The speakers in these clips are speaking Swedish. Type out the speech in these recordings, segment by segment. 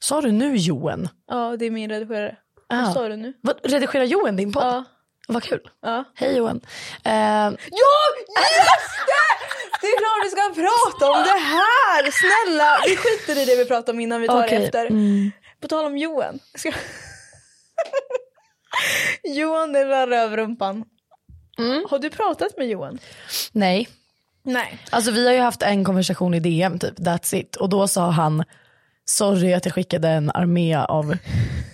Sa du nu Johan? Ja, det är min redigerare. Ja. Vad sa du nu? Vad, redigerar Johan din podd? Ja. Vad kul. Ja. Hej Johan. Eh, Ja, just det! Det är klart vi ska prata om det här! Snälla, vi skiter i det vi pratade om innan vi tar Okej. mm. det efter. På tal om Johan. Ska... Johan är rövrumpan. Mm. Har du pratat med Johan? nej, Nej. alltså vi har ju haft en konversation i DM typ, that's it. Och då sa han, sorry att jag skickade en armé av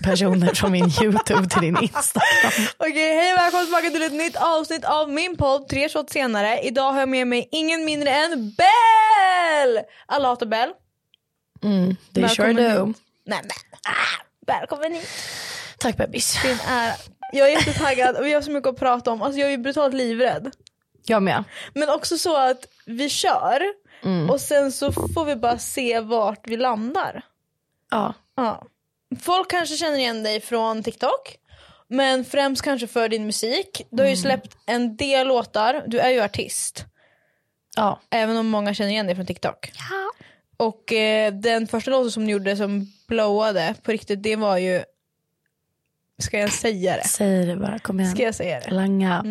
personer från min YouTube till din Instagram. Okej, hej och välkommen tillbaka till ett nytt avsnitt av min podd, tre shots senare. Idag har jag med mig ingen mindre än Bell! Alla hatar Bell. They sure Välkommen do. hit. Nej, men. Ah, välkommen hit. Tack bebis. Din ära. Jag är jättetaggad och vi har så mycket att prata om. Alltså jag är brutalt livrädd. Jag med. Men också så att vi kör och sen så får vi bara se vart vi landar. Ja. Ja. Folk kanske känner igen dig från TikTok. Men främst kanske för din musik. Du har ju släppt en del låtar. Du är ju artist. Ja. Även om många känner igen dig från TikTok. Och eh, den första låten som du gjorde som blowade på riktigt det var ju... Ska jag säga det? Säg det bara, kom igen. Ska jag Mm. säga det? Langa.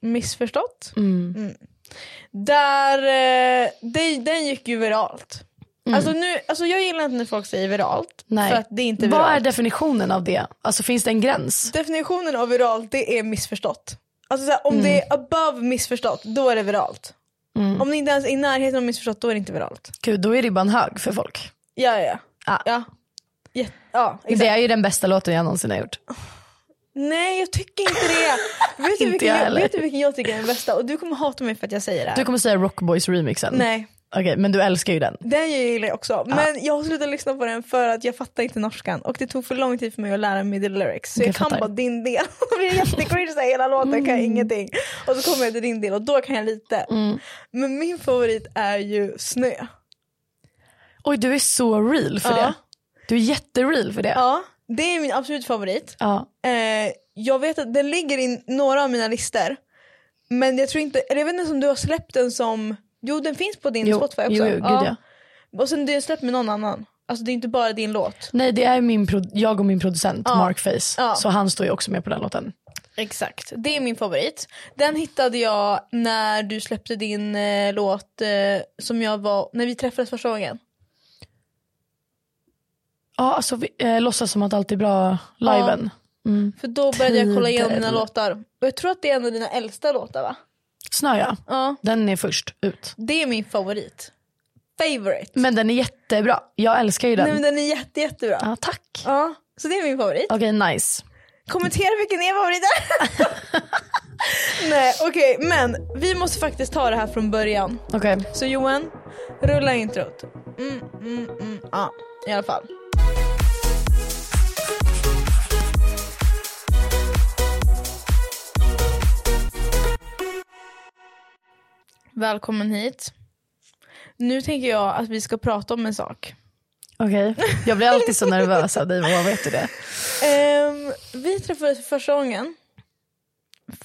Missförstått? Mm. Där, eh, det, den gick ju viralt. Alltså, nu, alltså jag gillar inte när folk säger viralt. Mm. Nej. För att det är inte Vad är viralt. definitionen av det? Alltså finns det en gräns? Definitionen av viralt det är missförstått. Alltså så här, Mm. om det är above missförstått då är det viralt. Om det inte ens är i närheten av missförstått då är det inte viralt. Gud, då är ribban hög för folk. Ja ja ja. Ah. ja. Ja, ja exakt. Det är ju den bästa låten jag någonsin har gjort. Nej jag tycker inte det. vet, Inte du vilken jag jag, heller. vet du vilken jag tycker är den bästa? Och du kommer hata mig för att jag säger det här. Du kommer säga Rockboys remixen. Nej. Okej, men du älskar ju den. Den jag gillar jag också. Men jag har slutat lyssna på den för att jag fattar inte norskan. Och det tog för lång tid för mig att lära mig the lyrics. Så jag, Jag kan fattar. Mm. bara din del. Det blir jättecringe här, hela låten kan jag ingenting. Och så kommer jag till din del och då kan jag lite. Men min favorit är ju Snö. Oj, du är så real för Ja. det. Du är jättereal för det. Ja, det är min absolut favorit. Ja. Eh, jag vet att den ligger i några av mina listor. Men jag tror inte, eller jag vet inte om du har släppt den som, jo den finns på din Jo, Spotify också. jo, jo, gud, ja. Och sen du har släppt med någon annan. Alltså det är inte bara din låt. Nej, det är min pro- jag och min producent Mark Face. Ja. Så han står ju också med på den låten. Exakt, det är min favorit. Den hittade jag när du släppte din eh, låt eh, som jag var, när vi träffades första gången. Ja, alltså vi, eh, låtsas som att allt är bra liven. För då började jag kolla igenom dina Tider. låtar. Och jag tror att det är en av dina äldsta låtar va? Snö ja. Ja. Den är först ut. Det är min favorit. Favorite. Men den är jättebra. Jag älskar ju den. Nej men den är jätte, jättebra. Ja. Ja, tack. Så det är min favorit. Okej, nice. Kommentera vilken er favorit är. Nej okej men vi måste faktiskt ta det här från början. Okej. Så Johan, rulla introt. Mm, mm, mm. Ja, i alla fall. Välkommen hit. Nu tänker jag att vi ska prata om en sak. Okej. Jag blir alltid så nervös av dig, vad vet du det? Ehm, vi träffades för första gången.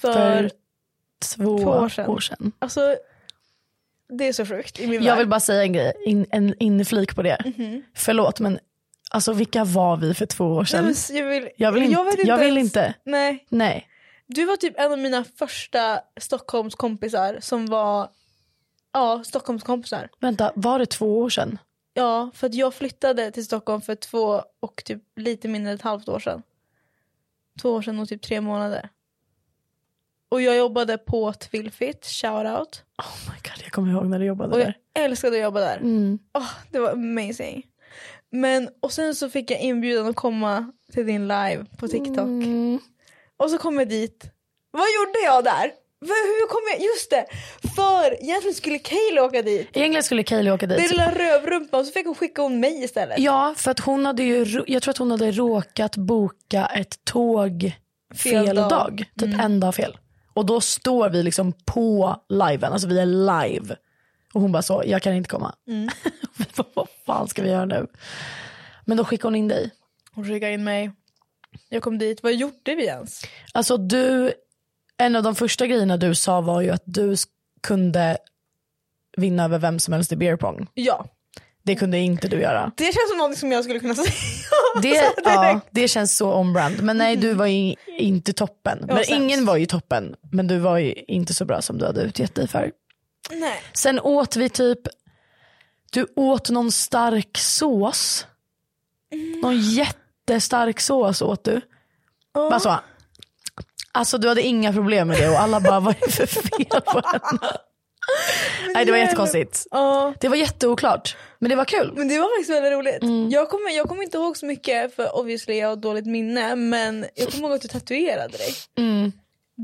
För, För två Två år sedan. År sedan. alltså, det är så sjukt i min Jag värld. vill bara säga en grej, in, en inflik på det. Mhm. Förlåt men alltså vilka var vi för två år Nej, sedan? men jag vill, jag vill inte. Jag, vill ens- inte. Nej, Nej. Du var typ en av mina första Stockholmskompisar som var Ja, Stockholmskompisar. Vänta, var det två år sedan? Ja, för att jag flyttade till Stockholm för två och typ lite mindre än ett halvt år sedan. Två år sedan och typ tre månader. Och jag jobbade på Twilfit, shoutout. Oh my god, jag kommer ihåg när du jobbade Och jag där. Mm. älskade att jobba där. Åh, det var amazing. Men, och sen så fick jag inbjudan att komma Mm. till din live på TikTok. Och så kom jag dit. Vad gjorde jag där? V- Hur kom jag? Just det! För egentligen skulle Kaeli åka dit. Egentligen skulle Kaeli åka dit. Det är lilla rövrumpan och så fick hon skicka om mig istället. Ja, för att hon hade ju, ro- jag tror att hon hade råkat boka ett tåg fel, Fel dag. dag. Typ en dag fel. Och då står vi liksom på liven, alltså vi är live. Och hon bara så, jag kan inte komma. vi bara, vad fan ska vi göra nu? Men då skickade hon in dig. Hon skickade in mig. Jag kom dit. Vad gjorde vi ens? Alltså du, en av de första grejerna du sa var ju att du sk- kunde vinna över vem som helst i beer pong. Ja. Det kunde inte du göra. Det känns som något som jag skulle kunna säga. Det, ja, det känns så on-brand. Men nej, du var ju inte toppen. Men var sämst. ingen var ju toppen. Men du var ju inte så bra som du hade utgett dig för. Nej. Sen åt vi typ, du åt någon stark sås. Någon jättestark sås åt du. Bara så. Alltså du hade inga problem med det och alla bara, vad är det för fel på henne? Nej det var jättekonstigt. Ja. Det var jätteoklart. Men det var kul. Men det var faktiskt väldigt roligt. Jag, kommer, jag kommer inte ihåg så mycket för obviously jag har dåligt minne men jag kommer ihåg att du tatuerade dig.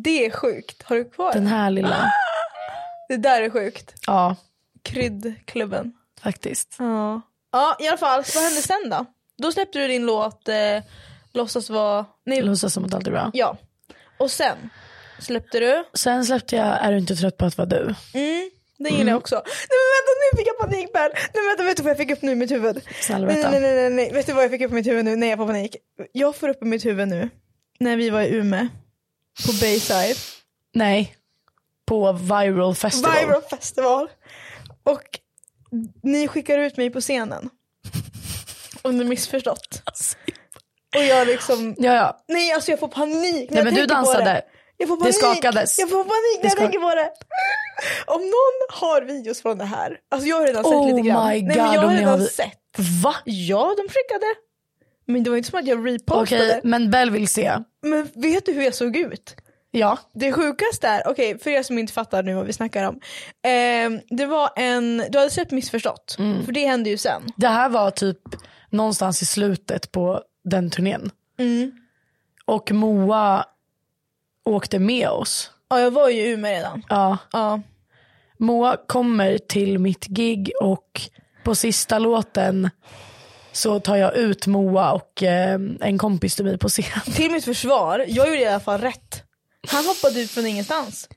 Det är sjukt. Har du kvar Mm, Den det? här lilla, Det där är sjukt. ja Kryddklubben. faktiskt. Ja. Ja i alla fall, vad hände sen då? Då släppte du din låt eh, Låtsas vara... Nej, Låtsas som att allt är bra. Ja. Och sen släppte du. Sen släppte jag Är du inte trött på att vara du? Mm. Den gillar jag också. Nej men vänta nu fick jag panik Per. Nej men vänta vet du vad jag fick upp nu i mitt huvud? Snälla Nej, berätta. nej, nej, nej, nej. Vet du vad jag fick upp i mitt huvud nu? Nej jag får panik. Jag får upp i mitt huvud nu. När vi var i Umeå. På Bayside. Nej. På viral festival. Viral festival. Och ni skickar ut mig på scenen. Om du missförstått. Alltså. Och jag liksom. Ja, ja. Nej alltså jag får panik. när jag Nej men du tänker på det. dansade. Jag får panik. skakades. Jag får panik när Det jag ska- tänker på det. Om någon har videos från det här. Alltså jag har redan sett Oh lite grann. Nej, my men God, jag om har ni redan har- sett. Va? Ja, de skickade. Men det var inte som att jag Okej, repostade. men Bell vill se. Men vet du hur jag såg ut? Ja. Det sjukaste är, okej för er som inte fattar nu vad vi snackar om. Ehm, det var en, du hade sett missförstått. Mm. För det hände ju sen. Det här var typ någonstans i slutet på den turnén. Mm. Och Moa åkte med oss. Ja jag var ju i Umeå redan. Ja. Ja. Moa kommer till mitt gig och på sista låten så tar jag ut Moa och eh, en kompis till mig på scen. Till mitt försvar, jag gjorde i alla fall rätt. Han hoppade ut från ingenstans.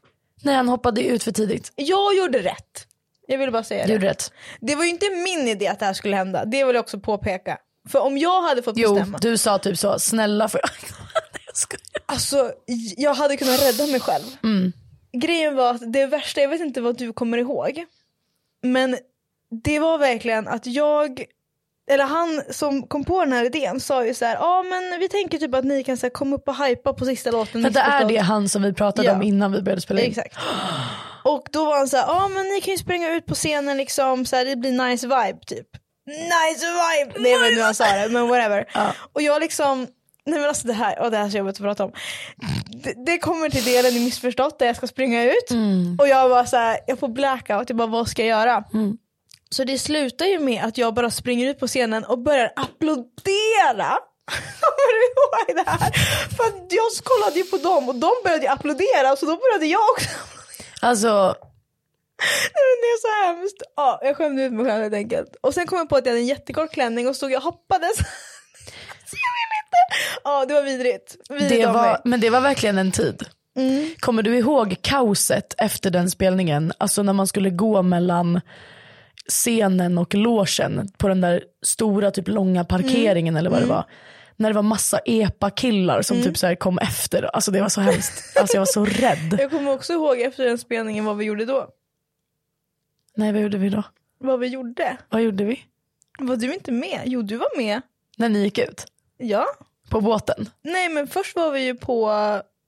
Nej han hoppade ut för tidigt. Jag gjorde rätt. Jag ville bara säga det. Gjorde rätt. Det var ju inte min idé att det här skulle hända. Det vill jag också påpeka. För om jag hade fått Jo, bestämma. du sa typ så, snälla får jag... Nej, jag skojar. Alltså j- jag hade kunnat rädda mig själv. Mm. Grejen var att det värsta, jag vet inte vad du kommer ihåg. Men det var verkligen att jag, eller han som kom på den här idén sa ju så här, ja men vi tänker typ att ni kan så här, komma upp och hypa på sista låten. Men det är Missförstått." det han som vi pratade Ja. om innan vi började spela in. Exakt. Och då var han så här, ja men ni kan ju springa ut på scenen liksom, så här, det blir nice vibe typ. Nice vibe! Det var nu han sa det, men whatever. Och jag liksom, nej men alltså det här, och det här är så jobbigt att prata om. Det, det kommer till delen i missförstått där jag ska springa ut. Och jag bara så här, jag får blackout, jag bara vad ska jag göra? Så det slutar ju med att jag bara springer ut på scenen och börjar applådera. Kommer du ihåg det här? För att jag kollade ju på dem och de började ju applådera så då började jag också. Alltså, Nej, men Det är så hemskt. Ja, jag skämde ut mig själv helt enkelt. Och sen kom jag på att jag hade en jättekort klänning och stod jag och hoppades. Så jag ville inte. Ja, det var vidrigt. Vidrigt det av mig. var, men det var verkligen en tid. Kommer du ihåg kaoset efter den spelningen? Alltså när man skulle gå mellan scenen och logen på den där stora typ långa parkeringen eller vad det var. När det var massa epa-killar som typ så här kom efter. Alltså det var så hemskt. Alltså jag var så rädd. Jag kommer också ihåg efter den spelningen vad vi gjorde då. Nej vad gjorde vi då? Vad vi gjorde. Vad gjorde vi? Var du inte med? Jo, du var med. När ni gick ut? Ja. På båten? Nej men först var vi ju på,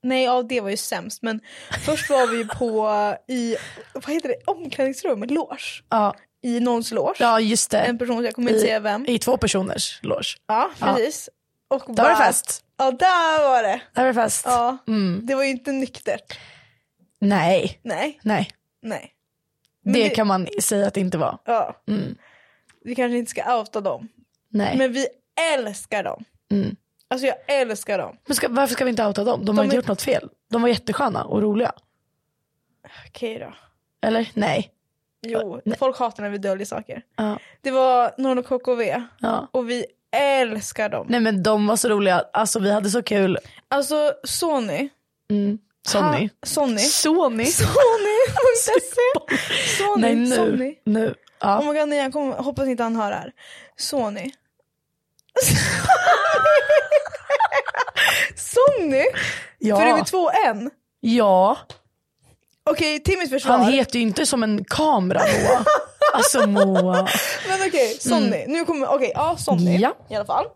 nej ja det var ju sämst men först var vi ju på i, vad heter det, omklädningsrum, loge. Ja, I någons loge. ja just det. En person, jag kommer inte säga vem. I två personers loge. Ja precis. Och Där var det fest. Ja där var det. Där var det fest. Ja. Mm. Det var ju inte nyktert. Nej, Nej, nej. nej. Men Det vi- kan man säga att det inte var. Ja. Mm. Vi kanske inte ska outa dem. Nej. Men Men, vi älskar dem. Mm. Alltså jag älskar dem. ska, varför ska vi inte outa dem? De har De inte är- gjort något fel. De var jättesköna och roliga. Okej då. Eller? Nej. Jo, folk hatar när vi döljer saker. Ja. Det var Norn och KKV Ja. och vi älskar dem. Nej men de var så roliga. Alltså vi hade så kul. Alltså Sony. Mm. Sonny. Ha- Sony. Sony? Sony.se. Sony. Nej nu. Sony. Nu. Oh Ja. my god, nej, jag kommer, hoppas inte han hör det här. Sony. Sony? Ja. För det är vi två en. ja. Okej, till mitt försvar. Han heter ju inte som en kamera Moa. Alltså Moa. Men okej, Sonny. Nu kommer, okej, ja Sonny Mm. Ja. Mm. i alla fall.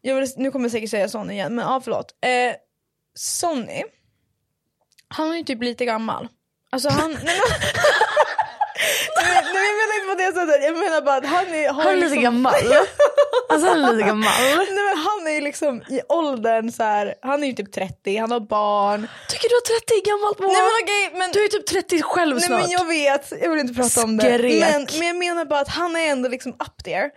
Jag vill, nu kommer jag säkert säga Sonny igen, men ja förlåt. Eh, Sonny, han är ju typ lite gammal. Alltså han, nej, men, nej, men jag menar inte på det sättet, jag menar bara att han är, har Han är ju lite liksom- gammal. Alltså han är lite gammal. Nej men han är ju liksom i åldern så här. han är ju typ 30, han har barn. Tycker du att 30 är gammalt Moa? Nej men okej men Du är typ 30 själv Nej snart. men jag vet, jag vill inte prata om det. Skrek. Men, men jag menar bara att han är ändå liksom up there.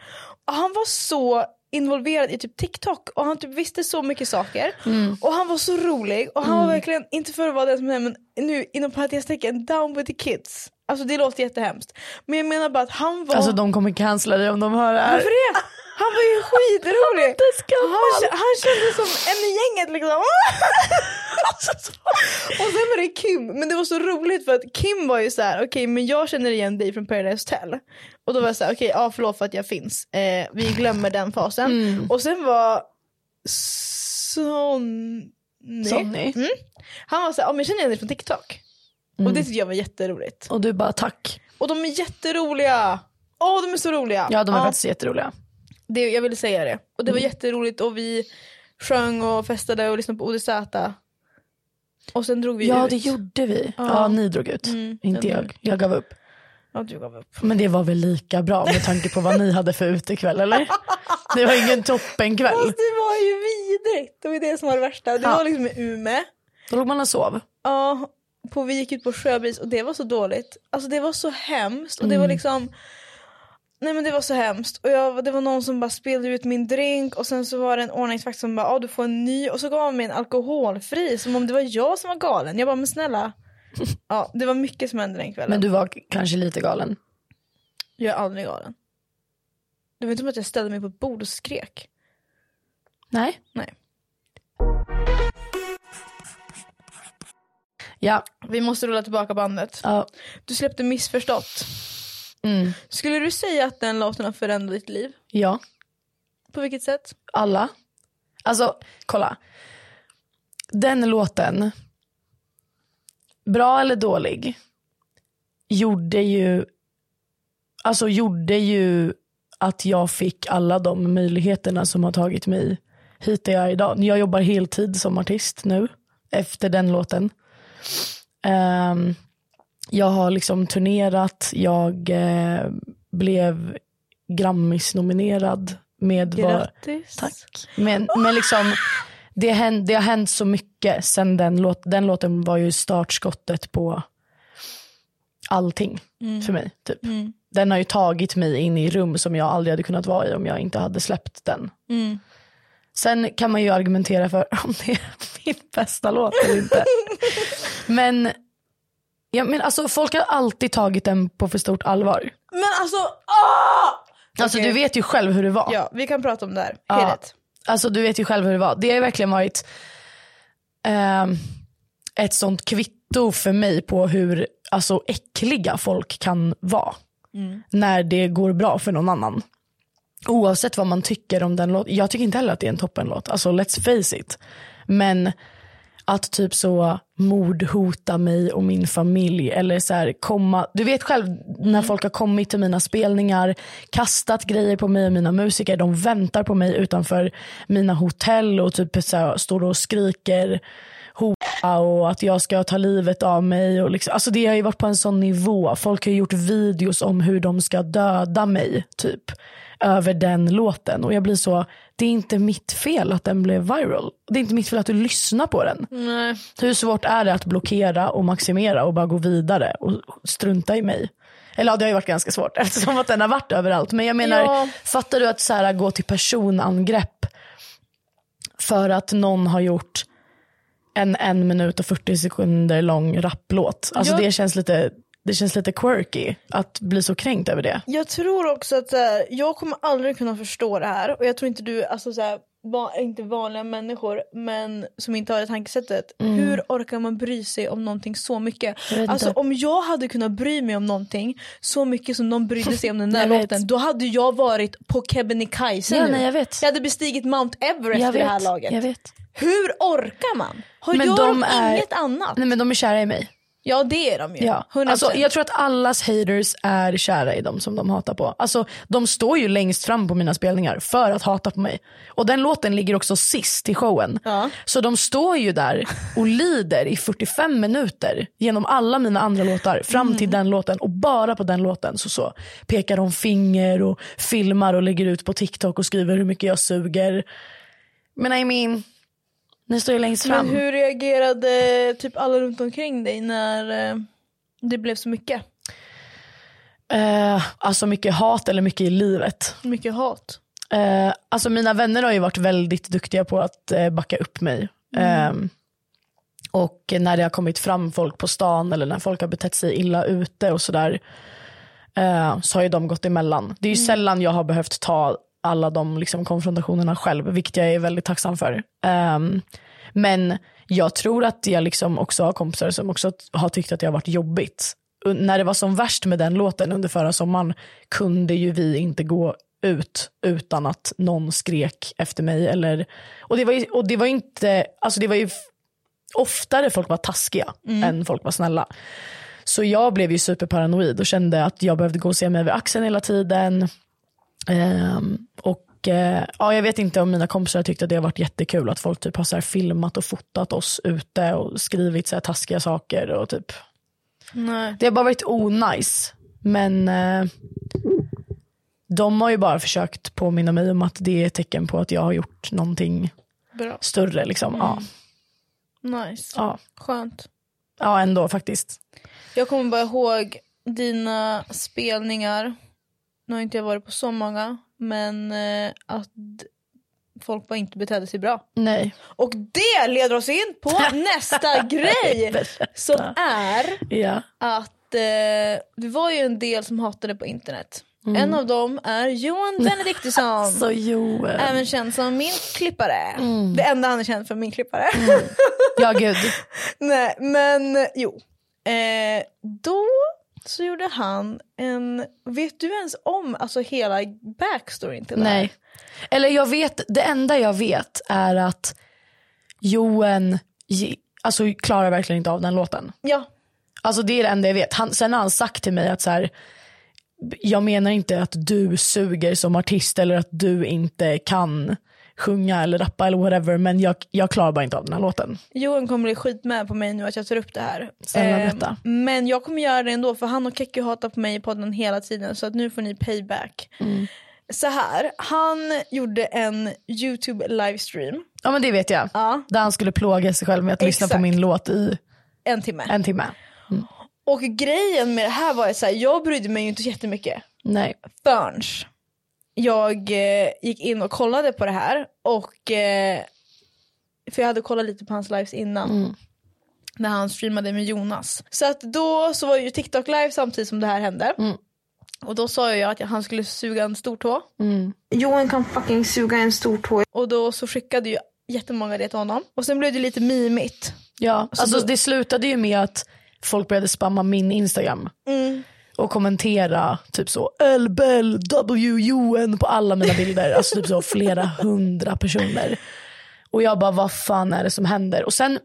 Och han var så involverad i typ TikTok och han typ visste så mycket saker. Och han var så rolig och han var verkligen, inte för att vara den som är men nu inom parentestecken, down with the kids. Alltså det låter jättehemskt. Men jag menar bara att han var... Alltså de kommer cancella dig om de hör det här. Varför det? Han var ju skitrolig. Det ska Han, kä- han kändes som en i gänget liksom. Och sen var det Kim, men det var så roligt för att Kim var ju så här: okej men jag känner igen dig från Paradise Hotel. Och då var jag såhär, okej ja förlåt för att jag finns. Eh, vi glömmer den fasen. Mm. Och sen var Sonny, Mm. Sonny. han var såhär, ja men jag känner igen dig från TikTok. Och Mm. det tyckte jag var jätteroligt. Och du bara tack. Och de är jätteroliga! Åh de är så roliga! Ja de är faktiskt jätteroliga. det, jag ville säga det. Och det var jätteroligt och vi sjöng och festade och lyssnade på ODZ. Och sen drog vi Ja ut. det gjorde vi. Ja, ni drog ut. Mm, Inte jag. Jag gav upp. Ja, du gav upp. Men det var väl lika bra med tanke på vad ni hade för utekväll eller? Det var ingen toppenkväll. Fast det var ju vidrigt. Det var ju det som var det värsta. Det Ja. var liksom i Ume. Då låg man och sov. Ja, på, vi gick ut på Sjöbris och det var så dåligt. Alltså det var så hemskt och det Mm. var liksom Nej men det var så hemskt och jag, det var någon som bara spelade ut min drink och sen så var det en ordningsvakt som bara ah, du får en ny och så gav han mig en alkoholfri som om det var jag som var galen. Jag bara men snälla. Ja det var mycket som hände den kvällen. Men du var k- kanske lite galen. Jag är aldrig galen. Det var inte som att jag ställde mig på ett bord och skrek. Nej. Nej. Ja. Vi måste rulla tillbaka bandet. ja. Du släppte missförstått. Mm. Skulle du säga att den låten har förändrat ditt liv? Ja. På vilket sätt? Alla. Alltså, kolla. Den låten, bra eller dålig, gjorde ju, alltså gjorde ju att jag fick alla de möjligheterna som har tagit mig hit där jag är idag. Jag jobbar heltid som artist nu, efter den låten. Ehm, jag har liksom turnerat, jag eh, blev Grammis-nominerad med vad- Grattis. Tack. Men, men liksom, det, hän- det har hänt så mycket sen den, låt, den låten var ju startskottet på allting för mig. Typ. Den har ju tagit mig in i rum som jag aldrig hade kunnat vara i om jag inte hade släppt den. Sen kan man ju argumentera för om det är min bästa låt eller inte. Men, ja, men alltså, folk har alltid tagit den på för stort allvar. Men alltså, ah! Alltså, Okej. Du vet ju själv hur det var. Ja, vi kan prata om det här. Ja. Helt rätt. Alltså du vet ju själv hur det var. Det har ju verkligen varit ehm, ett sånt kvitto för mig på hur alltså, äckliga folk kan vara. När det går bra för någon annan. Oavsett vad man tycker om den låten. Jag tycker inte heller att det är en toppenlåt. Alltså let's face it. Men att typ så mordhota mig och min familj eller så här komma, du vet själv när folk har kommit till mina spelningar, kastat grejer på mig och mina musiker, de väntar på mig utanför mina hotell och typ så här, står och skriker hora och att jag ska ta livet av mig. Och liksom, alltså det har ju varit på en sån nivå, folk har gjort videos om hur de ska döda mig typ över den låten och jag blir så, det är inte mitt fel att den blev viral. Det är inte mitt fel att du lyssnar på den. Nej. Hur svårt är det att blockera och maximera och bara gå vidare och strunta i mig? Eller ja, det har ju varit ganska svårt eftersom att den har varit överallt. Men jag menar, Ja. fattar du att så här, gå till personangrepp för att någon har gjort en en minut och 40 sekunder lång rapplåt. Alltså Ja. det, känns lite, det känns lite quirky att bli så kränkt över det. Jag tror också att så här, jag kommer aldrig kunna förstå det här och jag tror inte du, alltså så här, va- inte vanliga människor men som inte har det tankesättet. Hur orkar man bry sig om någonting så mycket? Mm. Jag vet Alltså inte. om jag hade kunnat bry mig om någonting så mycket som de brydde sig om den där Jag vet. låten då hade jag varit på Kebnekaise Ja, nu. nej, jag vet. hade bestigit Mount Everest Jag i det här vet, laget. jag vet. Hur orkar man? Har Men jag de är- inget annat? Nej men de är kära i mig. Ja det är de ju. Ja. 100%. Alltså, jag tror att allas haters är kära i dem som de hatar på. Alltså, de står ju längst fram på mina spelningar för att hata på mig. Och den låten ligger också sist i showen. Ja. Så de står ju där och lider i 45 minuter genom alla mina andra låtar fram till Mm. den låten. Och bara på den låten så, så pekar de finger och filmar och lägger ut på TikTok och skriver hur mycket jag suger. Men I mean, ni står ju längst fram. Men hur reagerade typ alla runt omkring dig när eh, det blev så mycket? Eh, alltså mycket hat eller mycket i livet. Mycket hat. Eh, alltså mina vänner har ju varit väldigt duktiga på att eh, backa upp mig. Eh, och när det har kommit fram folk på stan eller när folk har betett sig illa ute och sådär. Eh, så har ju de gått emellan. Det är ju sällan jag har behövt ta alla de liksom, konfrontationerna själv. Vilket jag är väldigt tacksam för. Eh, men jag tror att jag liksom också har kompisar som också t- har tyckt att det har varit jobbigt. Och när det var som värst med den låten under förra sommaren kunde ju vi inte gå ut utan att någon skrek efter mig. Eller, och det var ju, och det var ju inte, alltså det var ju f- oftare folk var taskiga än folk var snälla. Så jag blev ju superparanoid och kände att jag behövde gå och se mig över axeln hela tiden. Ehm, och eh, ja, Jag vet inte om mina kompisar tyckte att det har varit jättekul att folk typ har så här filmat och fotat oss ute och skrivit så här taskiga saker. Och typ. Nej. Det har bara varit onajs. Men eh, de har ju bara försökt påminna mig om att det är ett tecken på att jag har gjort någonting Bra. större. Liksom. Ja, Nice. ja. Skönt. ja, ändå faktiskt. Jag kommer bara ihåg dina spelningar. Nu har inte jag varit på så många. Men eh, att folk bara inte betedde sig bra. Nej. Och det leder oss in på nästa grej. Som är Ja. att eh, det var ju en del som hatade på internet. En av dem är Johan Benediktusson. Mm. Så eh, Mm. Joel. Även känd som min klippare. Det enda han är känd för, min klippare. Mm. Ja gud. Nej, men jo. Eh, då så gjorde han en... Vet du ens om alltså, hela backstoryn till det här? Nej. Eller jag vet, det enda jag vet är att Johan ge- alltså, klarar verkligen inte av den låten. Ja, Alltså det är det enda jag vet. Han, sen har han sagt till mig att så här, jag menar inte att du suger som artist eller att du inte kan sjunga eller rappa eller whatever men jag, jag klarar bara inte av den här låten. Johan kommer bli skit med på mig nu att jag tar upp det här. Snälla Eh, berätta. men jag kommer göra det ändå för han och Kekki hatar på mig i podden hela tiden så att nu får ni payback. Mm. Så här, han gjorde en YouTube livestream. Ja men det vet jag. Ja, Där han skulle plåga sig själv med att lyssna på Exakt. min låt i en timme. en timme. Och grejen med det här var att så här, jag brydde mig ju inte så jättemycket Nej. förrän jag eh, gick in och kollade på det här. Och, eh, för jag hade kollat lite på hans lives innan. När han streamade med Jonas. Så att då så var ju TikTok live samtidigt som det här hände. Och då sa jag att han skulle suga en stor tå. Johan kan fucking suga en stor tå. Och då så skickade ju jättemånga det till honom. Och sen blev det lite mimigt. Ja, alltså det slutade ju med att folk började spamma min Instagram. Och kommentera typ så LBL, WUN på alla mina bilder. Alltså typ så flera hundra personer. Och jag bara, vad fan är det som händer? Och sen,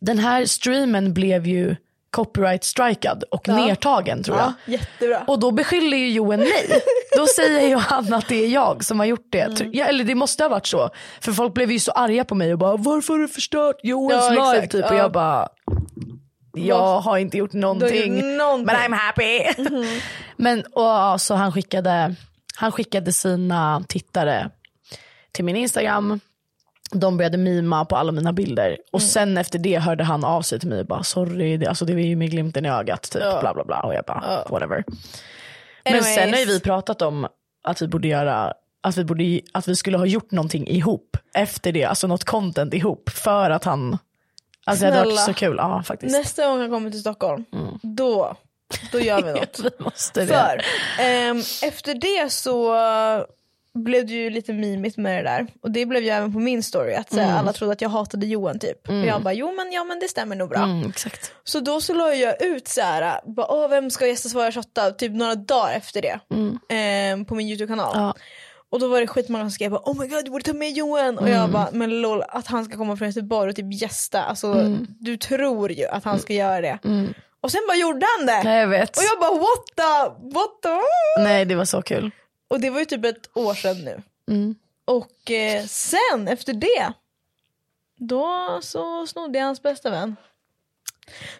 den här streamen blev ju copyright strikad och nertagen tror jag. Ja, jättebra. Och då beskyller ju Johan mig. Då säger ju han att det är jag som har gjort det. Mm. Ja, eller det måste ha varit så. För folk blev ju så arga på mig och bara varför har du förstört Johans Ja, live? exakt, Typ. Och ja. jag bara jag har inte gjort någonting. någonting. Mhm. Men I'm happy. Men och, ja, så han skickade, han skickade sina tittare till min Instagram. De började mima på alla mina bilder. Och sen efter det hörde han av sig till mig och bara sorry, det, alltså, det var ju med glimten i ögat. Typ, bla bla bla. Och jag bara whatever. Men Anyways. sen har ju vi pratat om att vi borde göra att vi, borde, att vi skulle ha gjort någonting ihop efter det, alltså något content ihop för att han Alltså det hade varit Snälla. så kul. Ja faktiskt. Nästa gång jag kommer till Stockholm, då, då gör vi något. Vi måste det. För ehm, efter det så blev det ju lite mimigt med det där. Och det blev ju även på min story. Att så Mm. här, alla trodde att jag hatade Johan typ. Och jag bara, jo men, ja, men det stämmer nog bra. Mm, exakt. Så då så la jag ut så här, bara, Åh, vem ska gästa Svara 28? Typ några dagar efter det. ehm, på min YouTube-kanal. Mm. Ja. Och då var det skitmånga som skrev bara, oh my god du borde ta med Johan. Och Mm. jag bara, men lol att han ska komma från Göteborg och typ gästa. Alltså Mm. du tror ju att han ska göra det. Och sen bara gjorde han det. Nej jag vet. Och jag bara what the, what the? oh, Nej det var så kul. Och det var ju typ ett år sedan nu. Mm. Och eh, sen efter det, då så snodde jag hans bästa vän.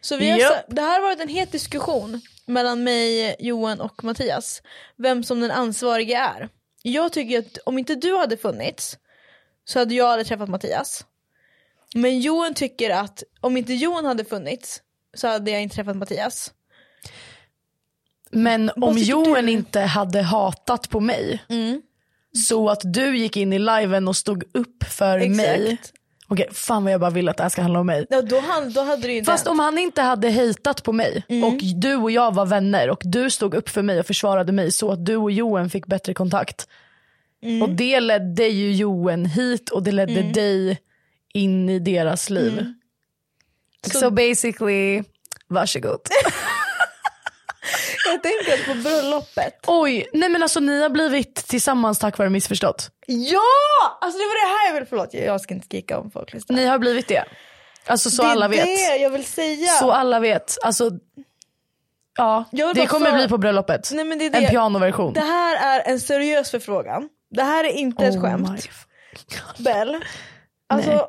Så vi har, Japp. sa- det här har varit en het diskussion mellan mig, Johan och Mattias. Vem som den ansvarige är. Jag tycker att om inte du hade funnits så hade jag aldrig träffat Mattias. Men Johan tycker att om inte Johan hade funnits så hade jag inte träffat Mattias. Men om tycker Johan du? Mm. inte hade hatat på mig så att du gick in i liven och stod upp för mig. Okej, fan vad jag bara vill att det här ska handla om mig. Ja, då, han, då hade det ju inte Fast hänt. om han inte hade hejtat på mig Mm. och du och jag var vänner och du stod upp för mig och försvarade mig så att du och Johan fick bättre kontakt. Mm. Och det ledde ju Johan hit och det ledde dig in i deras liv. Mm. Så so basically, varsågod. Jag tänker att på bröllopet Oj, nej men alltså ni har blivit tillsammans tack vare missförstått. Ja! Alltså det var det här jag ville, förlåt jag ska inte skrika om folk lyssnar. Ni har blivit det. Alltså så det är alla vet. det jag vill säga. Så alla vet. Alltså, ja, Jag vill det bara kommer för- bli på bröllopet. Nej, men det är En det. pianoversion. Det här är en seriös förfrågan. Det här är inte ett Oh my skämt. f- Bell, alltså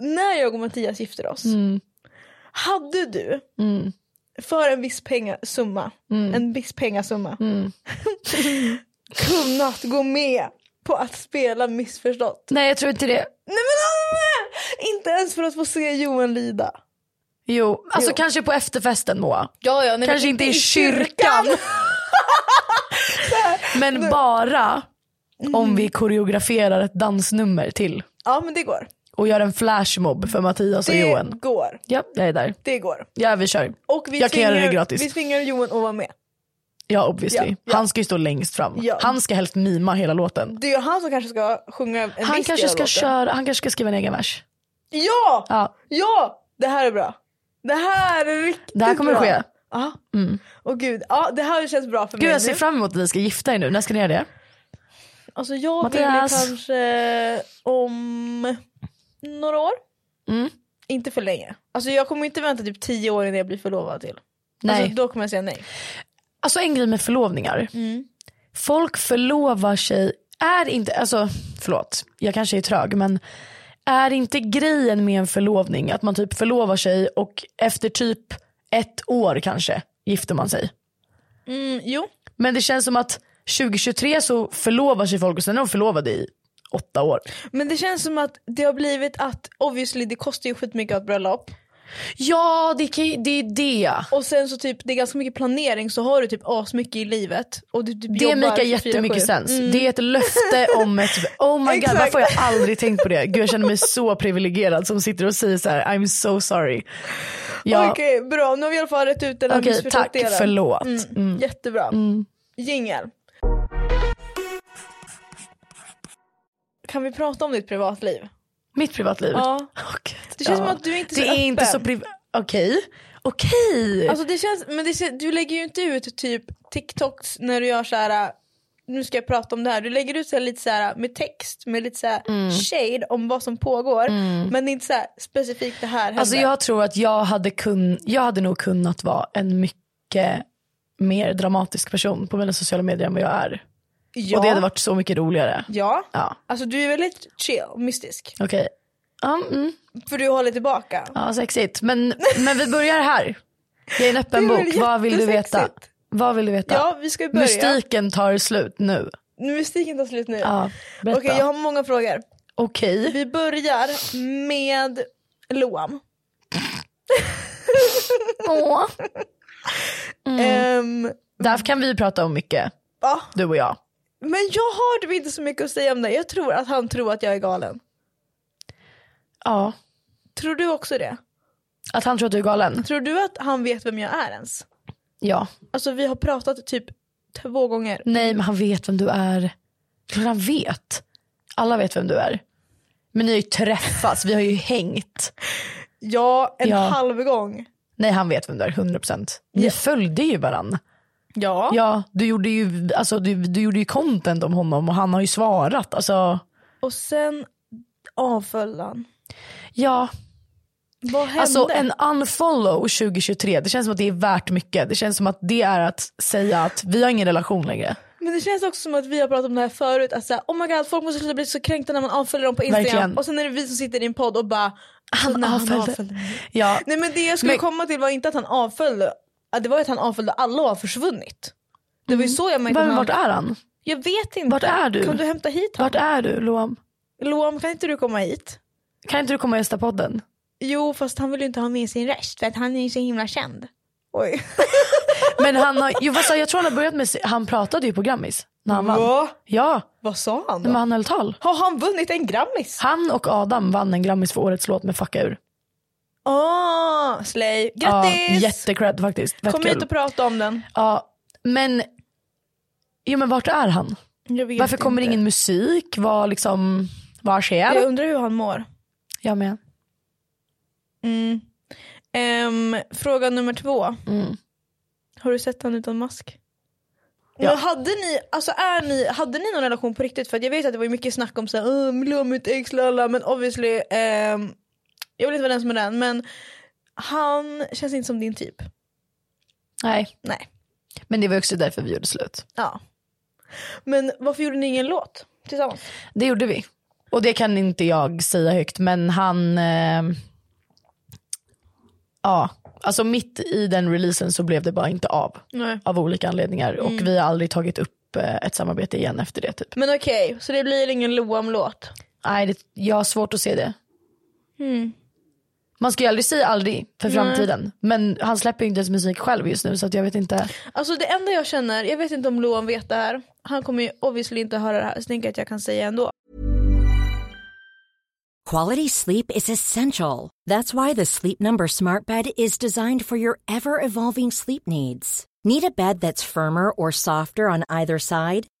när jag och Mattias gifter oss, Mm. hade du för en viss pengasumma, Mm. en viss pengasumma, kunnat gå med på att spela missförstått? Nej jag tror inte det. Nej men Anna! Inte ens för att få se Johan lida. Jo, alltså Jo. kanske på efterfesten Moa. Ja, ja, nej, Kanske inte i kyrkan. Men bara Mm. om vi koreograferar ett dansnummer till. ja men det går. Och gör en flashmob för Mattias och Det Johan. går. Ja, jag är där. Det går. Ja vi kör. Och vi jag kan göra tvingar, det gratis. Vi tvingar Johan att vara med. Ja obviously. Ja, ja. Han ska ju stå längst fram. Ja. Han ska helst mima hela låten. Det är ju han som kanske ska sjunga en Han viss kanske, del av ska låten. köra, han kanske ska skriva en egen vers. Ja! ja! Ja, Det här är bra. Det här är riktigt det här kommer bra. ske. Mm. Ja. Och gud, ja, det här känns bra för Gud mig jag ser nu. fram emot att ni ska gifta er nu. När ska ni göra det? Alltså jag Mattias. vill kanske om några år. Mm. Inte för länge. Alltså jag kommer inte vänta typ tio år innan jag blir förlovad till. Nej. Alltså, då kommer jag säga nej. Alltså en grej med förlovningar. Mm. Folk förlovar sig, är inte, alltså förlåt, jag kanske är trög men är inte grejen med en förlovning att man typ förlovar sig och efter typ ett år kanske gifter man sig. Mm, jo. Men det känns som att 2023 så förlovar sig folk och sen är de förlovade i åtta år. Men det känns som att det har blivit att obviously det kostar ju skitmycket att ha ett bröllop. Ja det, kan, ju- det är det. Och sen så typ det är ganska mycket planering så har du typ asmycket i livet. Och du typ Det jobbar Mm. makar 24/7. jättemycket sens. Det är ett löfte om ett... Oh my god, Exakt. varför har jag aldrig tänkt på det? Gud jag känner mig så privilegierad som sitter och säger så här: I'm so sorry. Ja, Okej bra, nu har vi i alla fall rätt ut den här Okej, missförstått tack, delen. förlåt. Mm, Mm. Jättebra. Jingel. Kan vi prata om ditt privatliv? mitt privatliv. Ja. Åh, gud, Det känns ja. som att du är inte så Det öppen. är inte så privat... Okej. Okej. Alltså det känns, men det, ser- du lägger ju inte ut typ TikToks när du gör så här. nu ska jag prata om det här. Du lägger ut så här, lite så här med text, med lite så här Mm. shade om vad som pågår. Men det är inte så här specifikt det här händer. Alltså jag tror att jag hade, kun, jag hade nog kunnat vara en mycket mer dramatisk person på mina sociala medier än vad jag är. ja. Och det hade varit så mycket roligare. Ja, Ja, alltså du är väldigt chill och mystisk. okej. Ja, mm. För du håller tillbaka. Ja, sexigt. Men, men vi börjar här. Jag är en öppen Det är väl bok. Vad vill du veta? jättesexigt. Vad vill du veta? Ja, vi ska ju börja. Mystiken tar slut nu. Nu, Mystiken tar slut nu. Ja, berätta. Okej, Okej. jag har många frågor. Vi börjar med Loam. Åh. Mm. Ehm, Där kan vi prata om mycket, ja. du och jag. Men jag har typ inte så mycket att säga om det. Jag tror att han tror att jag är galen. Ja. Tror du också det? Att han tror att du är galen? Tror du att han vet vem jag är ens? Ja. Alltså vi har pratat typ två gånger. Nej men han vet vem du är. Klart han vet. Alla vet vem du är. Men ni har ju träffats, vi har ju hängt. Ja, en Ja. halv gång. Nej han vet vem du är, 100%. Ni följde ju varann. Ja. Ja, du gjorde, ju, alltså, du, du gjorde ju content om honom och han har ju svarat. Alltså, Och sen avföll han. ja. Vad hände? Alltså en unfollow 2023, det känns som att det är värt mycket. Det känns som att det är att säga att vi har ingen relation längre. Men det känns också som att vi har pratat om det här förut. Att såhär, oh my god, folk måste sluta bli så kränkta när man avföljer dem på Instagram. Verkligen. Och sen är det vi som sitter i en podd och bara, "Alltså, han när avföljde. han avföljde mig. Ja, Nej men det jag skulle Men- komma till var inte att han avföljde, att det var att han avföljde alla och har försvunnit. Det var ju så jag märkte Mm. var, att han... vart är han? Jag vet inte. Vart är du? Kan du hämta hit honom? Vart är du Loam? Loam kan inte du komma hit? Kan inte du komma och gästa podden? Jo fast han vill ju inte ha med sin röst för att han är ju så himla känd. Oj. Men han har, jo, vad sa jag? jag tror han har börjat med, han pratade ju på Grammis när han vann. Va? Ja, Vad sa han då? men han höll tal. Har han vunnit en Grammis? Han och Adam vann en Grammis för årets låt med Fucka ur. Åh, Ah, Ah, slay. Ja, Grattis! jättecred faktiskt. Fett Kom kul. hit och prata om den. Ja, men, jo, men vart är han? Jag vet Varför kommer det inte. ingen musik? Vad liksom, vad Jag sker? undrar hur han mår. Jag med. Mm. Ehm, fråga nummer två. Mm. Har du sett han utan mask? Ja. Men hade ni, alltså är ni, hade ni någon relation på riktigt? För att jag vet att det var ju mycket snack om såhär, "Åh, vill du ha mitt ex lala, men obviously, ehm, jag vill inte vara den som är den, men han känns inte som din typ. Nej, Nej. men det var också därför vi gjorde slut. Ja. Men varför gjorde ni ingen låt tillsammans? Det gjorde vi. Och det kan inte jag säga högt men han, eh, ja, alltså mitt i den releasen så blev det bara inte av. Nej. Av olika anledningar och vi har aldrig tagit upp eh, ett samarbete igen efter det typ. Men okej, så det blir ingen Loam-låt? Nej, det, jag har svårt att se det. Man ska ju aldrig säga aldrig för framtiden. Men han släpper ju inte ens musik själv just nu så att jag vet inte. Alltså det enda jag känner, jag vet inte om Loan vet det här. Han kommer ju obviously inte höra det här så tänker jag att jag kan säga ändå. Quality sleep is essential. That's why the Sleep Number Smart Bed is designed for your ever evolving sleep needs. Need a bed that's firmer or softer on either side?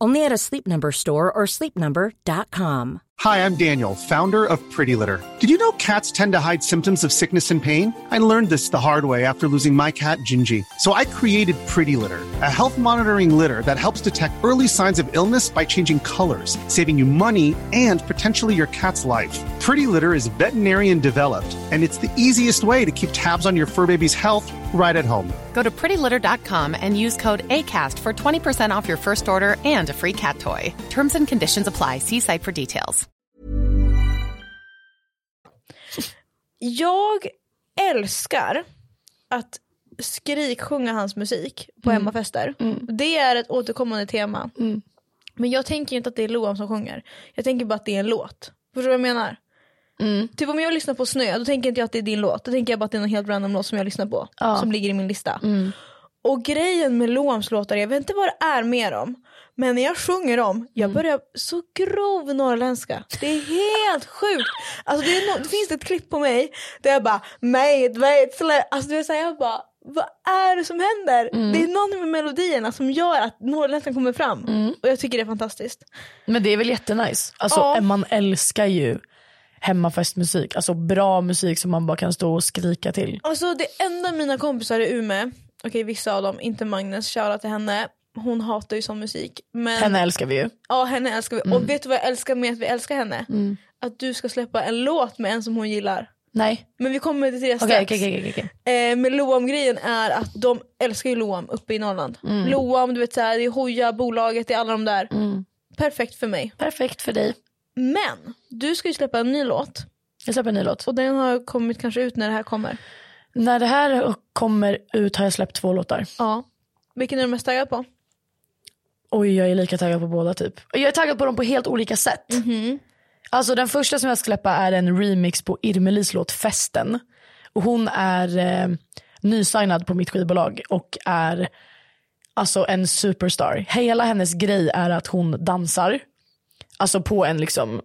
Only at a Sleep Number store or sleepnumber.com. Hi, I'm Daniel, founder of Pretty Litter. Did you know cats tend to hide symptoms of sickness and pain? I learned this the hard way after losing my cat, Gingy. So I created Pretty Litter, a health monitoring litter that helps detect early signs of illness by changing colors, saving you money and potentially your cat's life. Pretty Litter is veterinarian developed, and it's the easiest way to keep tabs on your fur baby's health right at home. Go to prettylitter.com and use code ACAST for 20% off your first order and a free cat toy. Terms and conditions apply. See site for details. Jag älskar att skriksjunga hans musik på hemmafester. Det är ett återkommande tema. Men jag tänker inte att det är Loam som sjunger. Jag tänker bara att det är en låt. Förstår du vad jag menar? Typ om jag lyssnar på Snö, då tänker inte jag att det är din låt. Då tänker jag bara att det är någon helt random låt som jag lyssnar på. Som ligger i min lista. Och grejen med Loams låtar, jag vet inte vad det är med dem. Men när jag sjunger dem, jag börjar så grov norrländska. Det är helt sjukt. Alltså det, är no- det finns ett klipp på mig där jag bara medvetslö. Alltså det är så här, jag bara, vad är det som händer? Det är någon med melodierna som gör att norrländskan kommer fram. Och jag tycker det är fantastiskt. Men det är väl jättenice. Alltså, Ja. Man älskar ju hemmafestmusik. Alltså bra musik som man bara kan stå och skrika till. Alltså det enda mina kompisar i Umeå, okej vissa av dem, inte Magnus, shoutout till henne. Hon hatar ju sån musik. Men Henne älskar vi ju. Ja henne älskar vi. Mm. Och vet du vad jag älskar med att vi älskar henne? Att du ska släppa en låt med en som hon gillar. Nej. Men vi kommer till det strax. Okej, okej, okej, okej, okej. Eh, men Loam-grejen är att de älskar ju Loam uppe i Norrland. Mm. Loam, du vet såhär, det är Hoja, bolaget, det är alla de där. Perfekt för mig. Perfekt för dig. Men du ska ju släppa en ny låt. Jag släpper en ny låt. Och den har kommit kanske ut när det här kommer. När det här kommer ut har jag släppt två låtar. Ja. Vilken är du mest taggad på? Oj, jag är lika taggad på båda typ. Jag är taggad på dem på helt olika sätt. Alltså den första som jag ska släppa är en remix på Irmelis låt Festen. Och hon är eh, nysignad på mitt skivbolag och är alltså en superstar. Hela hennes grej är att hon dansar. Alltså på en liksom,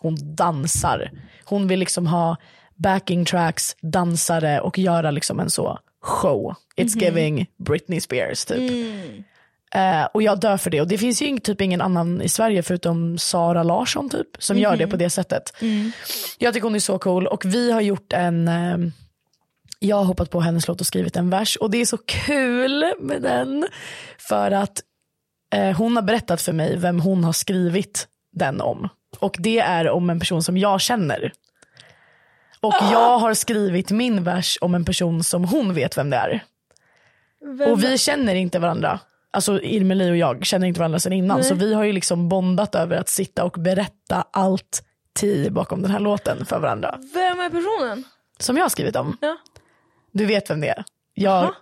hon dansar. Hon vill liksom ha backing tracks, dansare och göra liksom en så show. It's giving Britney Spears typ. Eh, och jag dör för det. Och det finns ju ing- typ ingen annan i Sverige förutom Sara Larsson typ, som gör det på det sättet. Jag tycker hon är så cool och vi har gjort en, eh, jag har hoppat på hennes låt och skrivit en vers och det är så kul med den. För att eh, hon har berättat för mig vem hon har skrivit den om. Och det är om en person som jag känner. Och jag har skrivit min vers om en person som hon vet vem det är. Vem? Och vi känner inte varandra. Alltså Irmeli och jag känner inte varandra sedan innan. Så vi har ju liksom bondat över att sitta och berätta allt tid bakom den här låten för varandra. Vem är personen? Som jag har skrivit om. Ja. Du vet vem det är. Jag,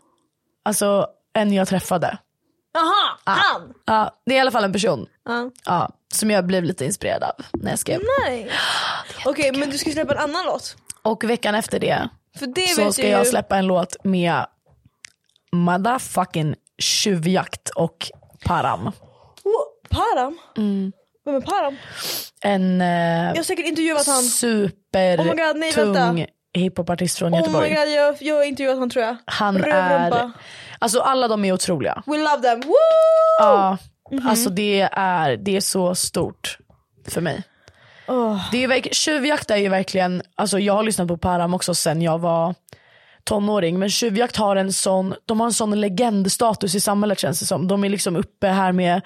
alltså en jag träffade. Jaha, Ah. han! Ja, det är i alla fall en person Ja. Mm. ja, som jag blev lite inspirerad av när jag skrev. Nej. Okej, men du ska släppa en annan låt. Och veckan efter det För det så vet ska ju... jag släppa en låt med motherfucking tjuvjakt och Param. Oh, Param? Mm. Vem är Param? En eh, Jag har säkert intervjuat han. Oh my God, nej, supertung vänta. hiphopartist från Oh my Göteborg. god, jag, jag har intervjuat han tror jag. Han är, Rövrumpa. alltså alla de är otroliga. We love them. Woo! Ja, Alltså det är, det är så stort för mig. Det är verk- tjuvjakt är ju verkligen, alltså jag har lyssnat på Param också sen jag var tonåring. Men tjuvjakt har en sån, de har en sån legendstatus i samhället känns det som. De är liksom uppe här med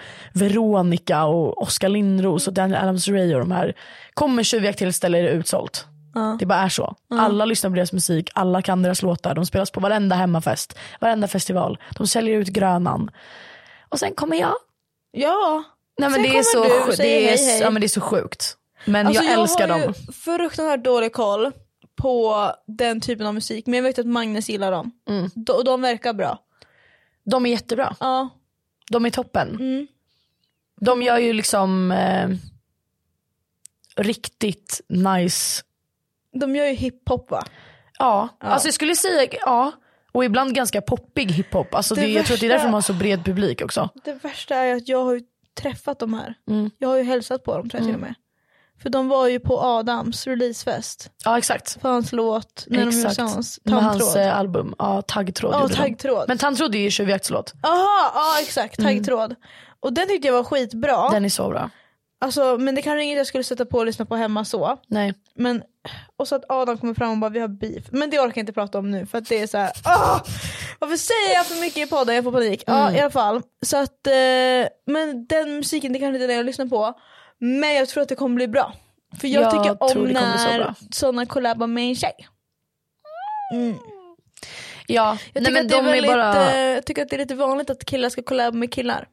Veronica och Oskar Lindros och Daniel Adams-Ray och de här. Kommer tjuvjakt till ett ställe är det utsålt. Det bara är så. Alla lyssnar på deras musik, alla kan deras låtar. De spelas på varenda hemmafest, varenda festival. De säljer ut Grönan. Och sen kommer jag Ja. Nej, men Sen det, är så, kommer du och sju- säger det, är, hej, s- hej. Ja, men det är så sjukt. Men Alltså, jag älskar har dem. ju fruktansvärt dålig koll på den typen av musik men jag vet att Magnus gillar dem. Mm. De, och de verkar bra. De är jättebra. Ja. De är toppen. Mm. De gör ju liksom eh, riktigt nice. De gör ju hiphop va? Ja. alltså jag skulle säga ja. Och ibland ganska poppig hiphop. Alltså Det det jag tror att det är därför värsta- de har så bred publik också. Det värsta är att jag har ju träffat de här. Mm. Jag har ju hälsat på dem tror jag till och med. För de var ju på Adams releasefest. Ja exakt. På hans låt när de gjorde exakt. tillsammans. Med hans Tandtråd. eh, album. Ja, taggtråd Ja, gjorde de. Taggtråd. Men taggtråd är ju Tjuvjakts låt. Jaha, ja exakt. Taggtråd. Och den tyckte jag var skitbra. Mm. Den är så bra. Alltså, men det kanske inget jag skulle sätta på och lyssna på hemma så. Nej. Men, och så att Adam kommer fram och bara vi har beef. Men det orkar jag inte prata om nu för att det är så här. "Åh! varför säger jag för mycket i podden? Jag får panik. Mm. Ja i alla fall. Så att, eh, men den musiken det kanske inte är den jag lyssnar på. Men jag tror att det kommer bli bra. För jag, Jag tycker om tror det kommer bli så när bra. sådana collabar med en tjej. Ja, Jag nej tycker, men att det de är är, väldigt, bara, eh, jag tycker att det är lite vanligt att killar ska collaba med killar.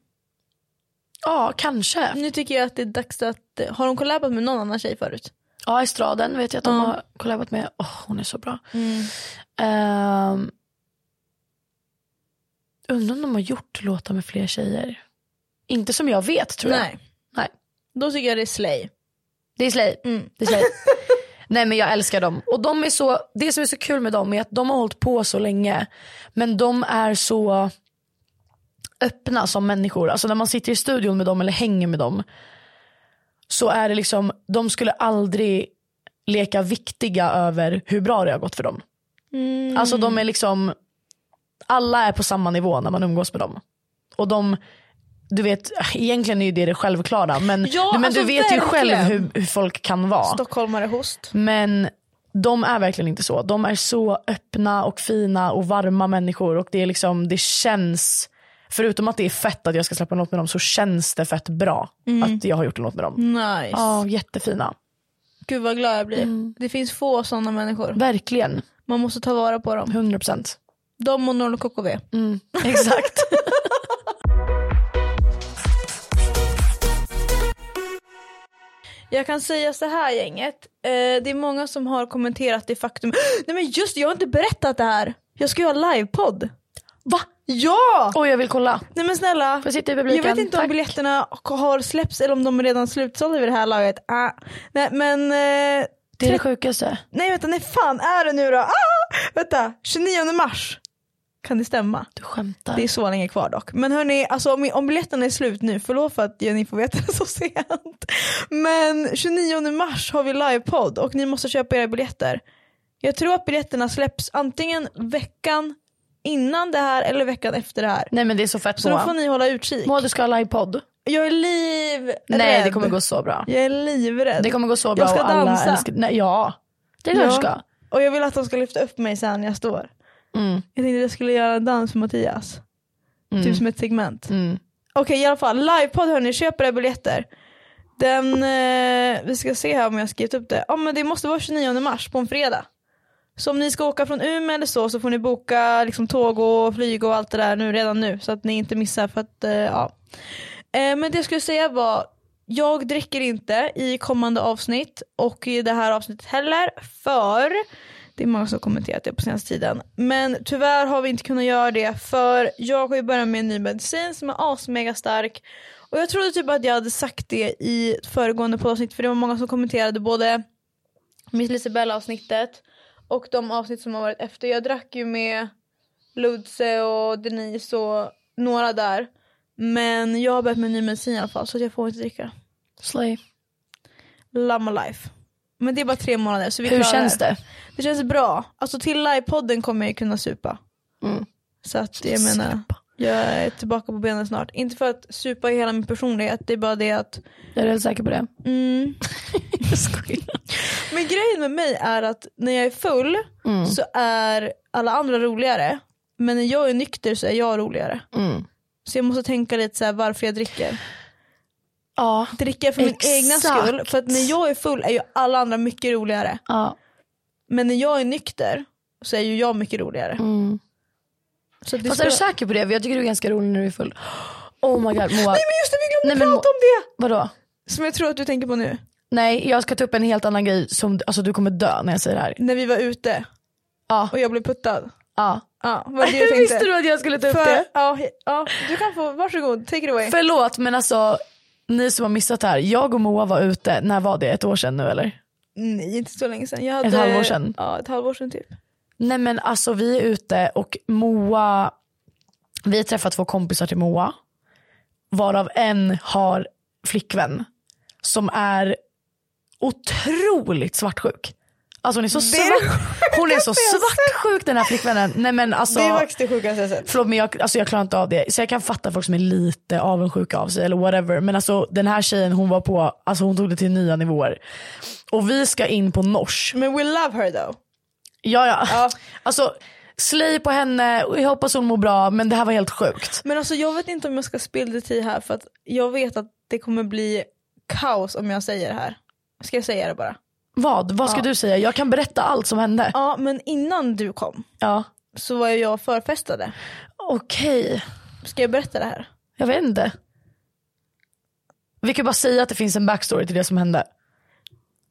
ja kanske. Nu tycker jag att det är dags att, har de collabat med någon annan tjej förut? Ja, Estraden vet jag att de har kollabat med. Åh, hon är så bra. Ehm, undrar om de har gjort låtar med fler tjejer. Inte som jag vet tror jag. Nej. Nej. Då tycker jag det är slay. Det är Slay. Mm. Det är slay. Nej men jag älskar dem. Och de är så, det som är så kul med dem är att de har hållit på så länge. Men de är så öppna som människor. Alltså när man sitter i studion med dem eller hänger med dem. Så är det liksom, de skulle aldrig leka viktiga över hur bra det har gått för dem. Mm. Alltså de är liksom, alla är på samma nivå när man umgås med dem. Och de, du vet, egentligen är ju det det självklara. Men, Ja, men alltså du vet ju själv verkligen. hur, hur folk kan vara. Stockholmare host. Men de är verkligen inte så. De är så öppna och fina och varma människor. Och det, är liksom, det känns, förutom att det är fett att jag ska släppa en låt med dem, så känns det fett bra att jag har gjort en låt med dem. Nice. Ja, Mm. jättefina. Gud vad glad jag blir. Det finns få sådana människor. Verkligen. Man måste ta vara på dem. 100%. De och Norl och KKV. Mm. Exakt. Jag kan säga så här gänget. Eh, det är många som har kommenterat det faktum. Nej men just det, jag har inte berättat det här. Jag ska ju ha livepodd. Va? Ja! Oj jag vill kolla. Nej men snälla. Får jag sitta i Jag publiken? vet inte om Tack. biljetterna har släppts eller om de är redan slutsålda vid det här laget. Ah. Nej men, eh, Det är det sjukaste. nej vänta, nej fan är det nu då? Ah! Vänta, 29 mars. Kan det stämma? Du skämtar. Det är så länge kvar dock. Men hörni, alltså om, om biljetterna är slut nu, förlåt för att ni får veta det så sent. Men 29 mars har vi livepodd och ni måste köpa era biljetter. Jag tror att biljetterna släpps antingen veckan innan det här eller veckan efter det här. Nej men det är så fett Så då får Moa. ni hålla utkik. Moa du ska ha livepodd. Jag är livrädd. Nej det kommer gå så bra. Jag är livrädd. Det kommer gå så bra Jag ska och alla dansa. älskar- Nej, ja. Det är klart du Ja. ska. Och jag vill att de ska lyfta upp mig sen när jag står. Mm. Jag tänkte att jag skulle göra en dans för Mattias. Typ som ett segment. Mm. Okej i alla fall, livepodd hörni, köp era biljetter. Den, eh, vi ska se här om jag har skrivit upp det. Ja men det måste vara 29 mars på en fredag. Så om ni ska åka från Umeå eller så så får ni boka liksom, tåg och flyg och allt det där nu, redan nu så att ni inte missar för att eh, ja. Eh, men det jag skulle säga var jag dricker inte i kommande avsnitt och i det här avsnittet heller för det är många som har kommenterat det på senaste tiden. Men tyvärr har vi inte kunnat göra det för jag har ju börjat med en ny medicin som är asmega stark. Och jag trodde typ att jag hade sagt det i föregående poddavsnitt för det var många som kommenterade både Miss Lisabella avsnittet och de avsnitt som har varit efter. Jag drack ju med Ludse och Denise och några där. Men jag har börjat med en ny medicin i alla fall så att jag får inte dricka. Slay. Love my life. Men det är bara tre månader så vi Hur klarar känns det? det känns bra. Alltså till livepodden kommer jag ju kunna supa. Mm. Så att jag menar, jag är tillbaka på benen snart. Inte för att supa i hela min personlighet, det är bara det att... Jag är helt säker på det. Mm. Jag skojar. Men grejen med mig är att när jag är full Mm. så är alla andra roligare. Men när jag är nykter så är jag roligare. Mm. Så jag måste tänka lite så här varför jag dricker. Ja. Dricker jag för min egna Exakt. skull? För att när jag är full är ju alla andra mycket roligare. ja. Men när jag är nykter så är ju jag mycket roligare. Mm. Så det Fast är du spelar- säker på det? För jag tycker du är ganska rolig när du är full. Oh my god Moa. Nej men just det, vi Nej, glömde men prata om det! Vadå? Som jag tror att du tänker på nu. Nej jag ska ta upp en helt annan grej som alltså, du kommer dö när jag säger det här. När vi var ute Ja. och jag blev puttad. Ja. Ja, vad det jag tänkte. Visste du att jag skulle ta upp För, det? ja, he- ja, du kan få, varsågod, take it away. Förlåt men alltså ni som har missat det här. Jag och Moa var ute, när var det? Ett år sedan nu eller? Nej, inte så länge sedan. Jag hade, halvår sedan? Ja, ett halvår sedan typ. Nej men alltså vi är ute och Moa, vi träffar två kompisar till Moa. Varav en har flickvän som är otroligt svartsjuk. Alltså hon är så, är det svart, hon är så svartsjuk den här flickvännen. Nej men alltså, Det är faktiskt det sjukaste jag sett. förlåt men jag, alltså jag klarar inte av det. Så jag kan fatta folk som är lite avundsjuka av sig eller whatever. Men alltså den här tjejen hon var på, alltså hon tog det till nya nivåer. Och vi ska in på Nors. Men we love her though. Ja, ja. Ja. Alltså, slay på henne, jag hoppas hon mår bra, men det här var helt sjukt. Men alltså jag vet inte om jag ska spill the tea här för att jag vet att det kommer bli kaos om jag säger det här. Ska jag säga det bara? Vad? Vad ska Ja. du säga? Jag kan berätta allt som hände. Ja, men innan du kom Ja. så var ju jag och förfestade. Okej, Ska jag berätta det här? jag vet inte. Vi kan bara säga att det finns en backstory till det som hände.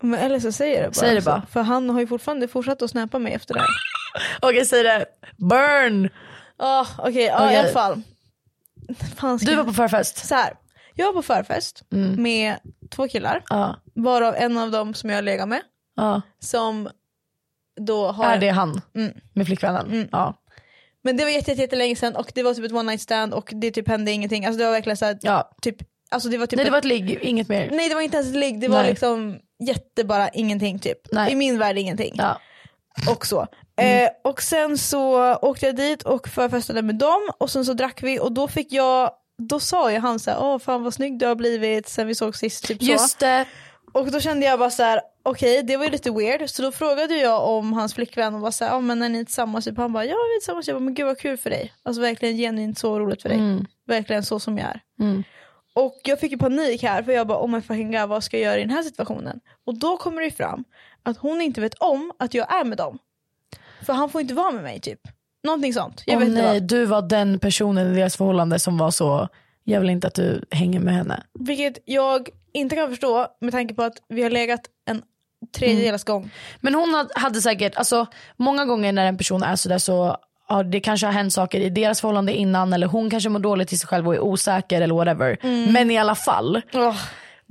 Men eller så säger jag det bara. alltså. Säg det bara. För han har ju fortfarande fortsatt att snäpa mig efter det här. Okej, säg det. Burn! Ja okej, ja, i Ah, Okej. alla fall. Fan, ska Du jag- var på förfest. så här. Jag var på förfest med två killar, Mm. Ja. varav en av dem som jag legat med, ja. som då har... Är det han? Mm. Med flickvännen? Ja. Men det var jätte, jätte, jättelänge sedan och det var typ ett one night stand och det typ hände ingenting. Alltså det var verkligen så här, ja. typ, alltså det var typ Nej, det ett- var ett ligg, inget mer. nej det var inte ens ett ligg, det var Nej. liksom jätte bara ingenting typ. Nej. I min värld ingenting. Ja. Mm. och så. Eh, och sen så åkte jag dit och förfestade med dem och sen så drack vi och då fick jag då sa ju han såhär, åh fan vad snygg du har blivit sen vi såg sist. Typ så. Just det. Och då kände jag bara så här: okej det var ju lite weird. Så då frågade jag om hans flickvän och var såhär, ja men är ni tillsammans? Typ. Han bara, ja vi är tillsammans. Jag bara, men gud vad kul för dig. Alltså verkligen genuint så roligt för dig. Mm. Verkligen så som jag är. Och jag fick ju panik här för jag bara, oh my fucking god vad ska jag göra i den här situationen? Och då kommer det ju fram att hon inte vet om att jag är med dem. För han får inte vara med mig typ. Någonting sånt. Jag Åh, vet inte nej, vad. du var den personen i deras förhållande som var så, jag vill inte att du hänger med henne. Vilket jag inte kan förstå med tanke på att vi har legat en Mm. tredjedelars gång. Men hon had- hade säkert, alltså många gånger när en person är sådär så ja, det kanske har hänt saker i deras förhållande innan eller hon kanske mår dåligt till sig själv och är osäker eller whatever. Men i alla fall. Mm. Åh,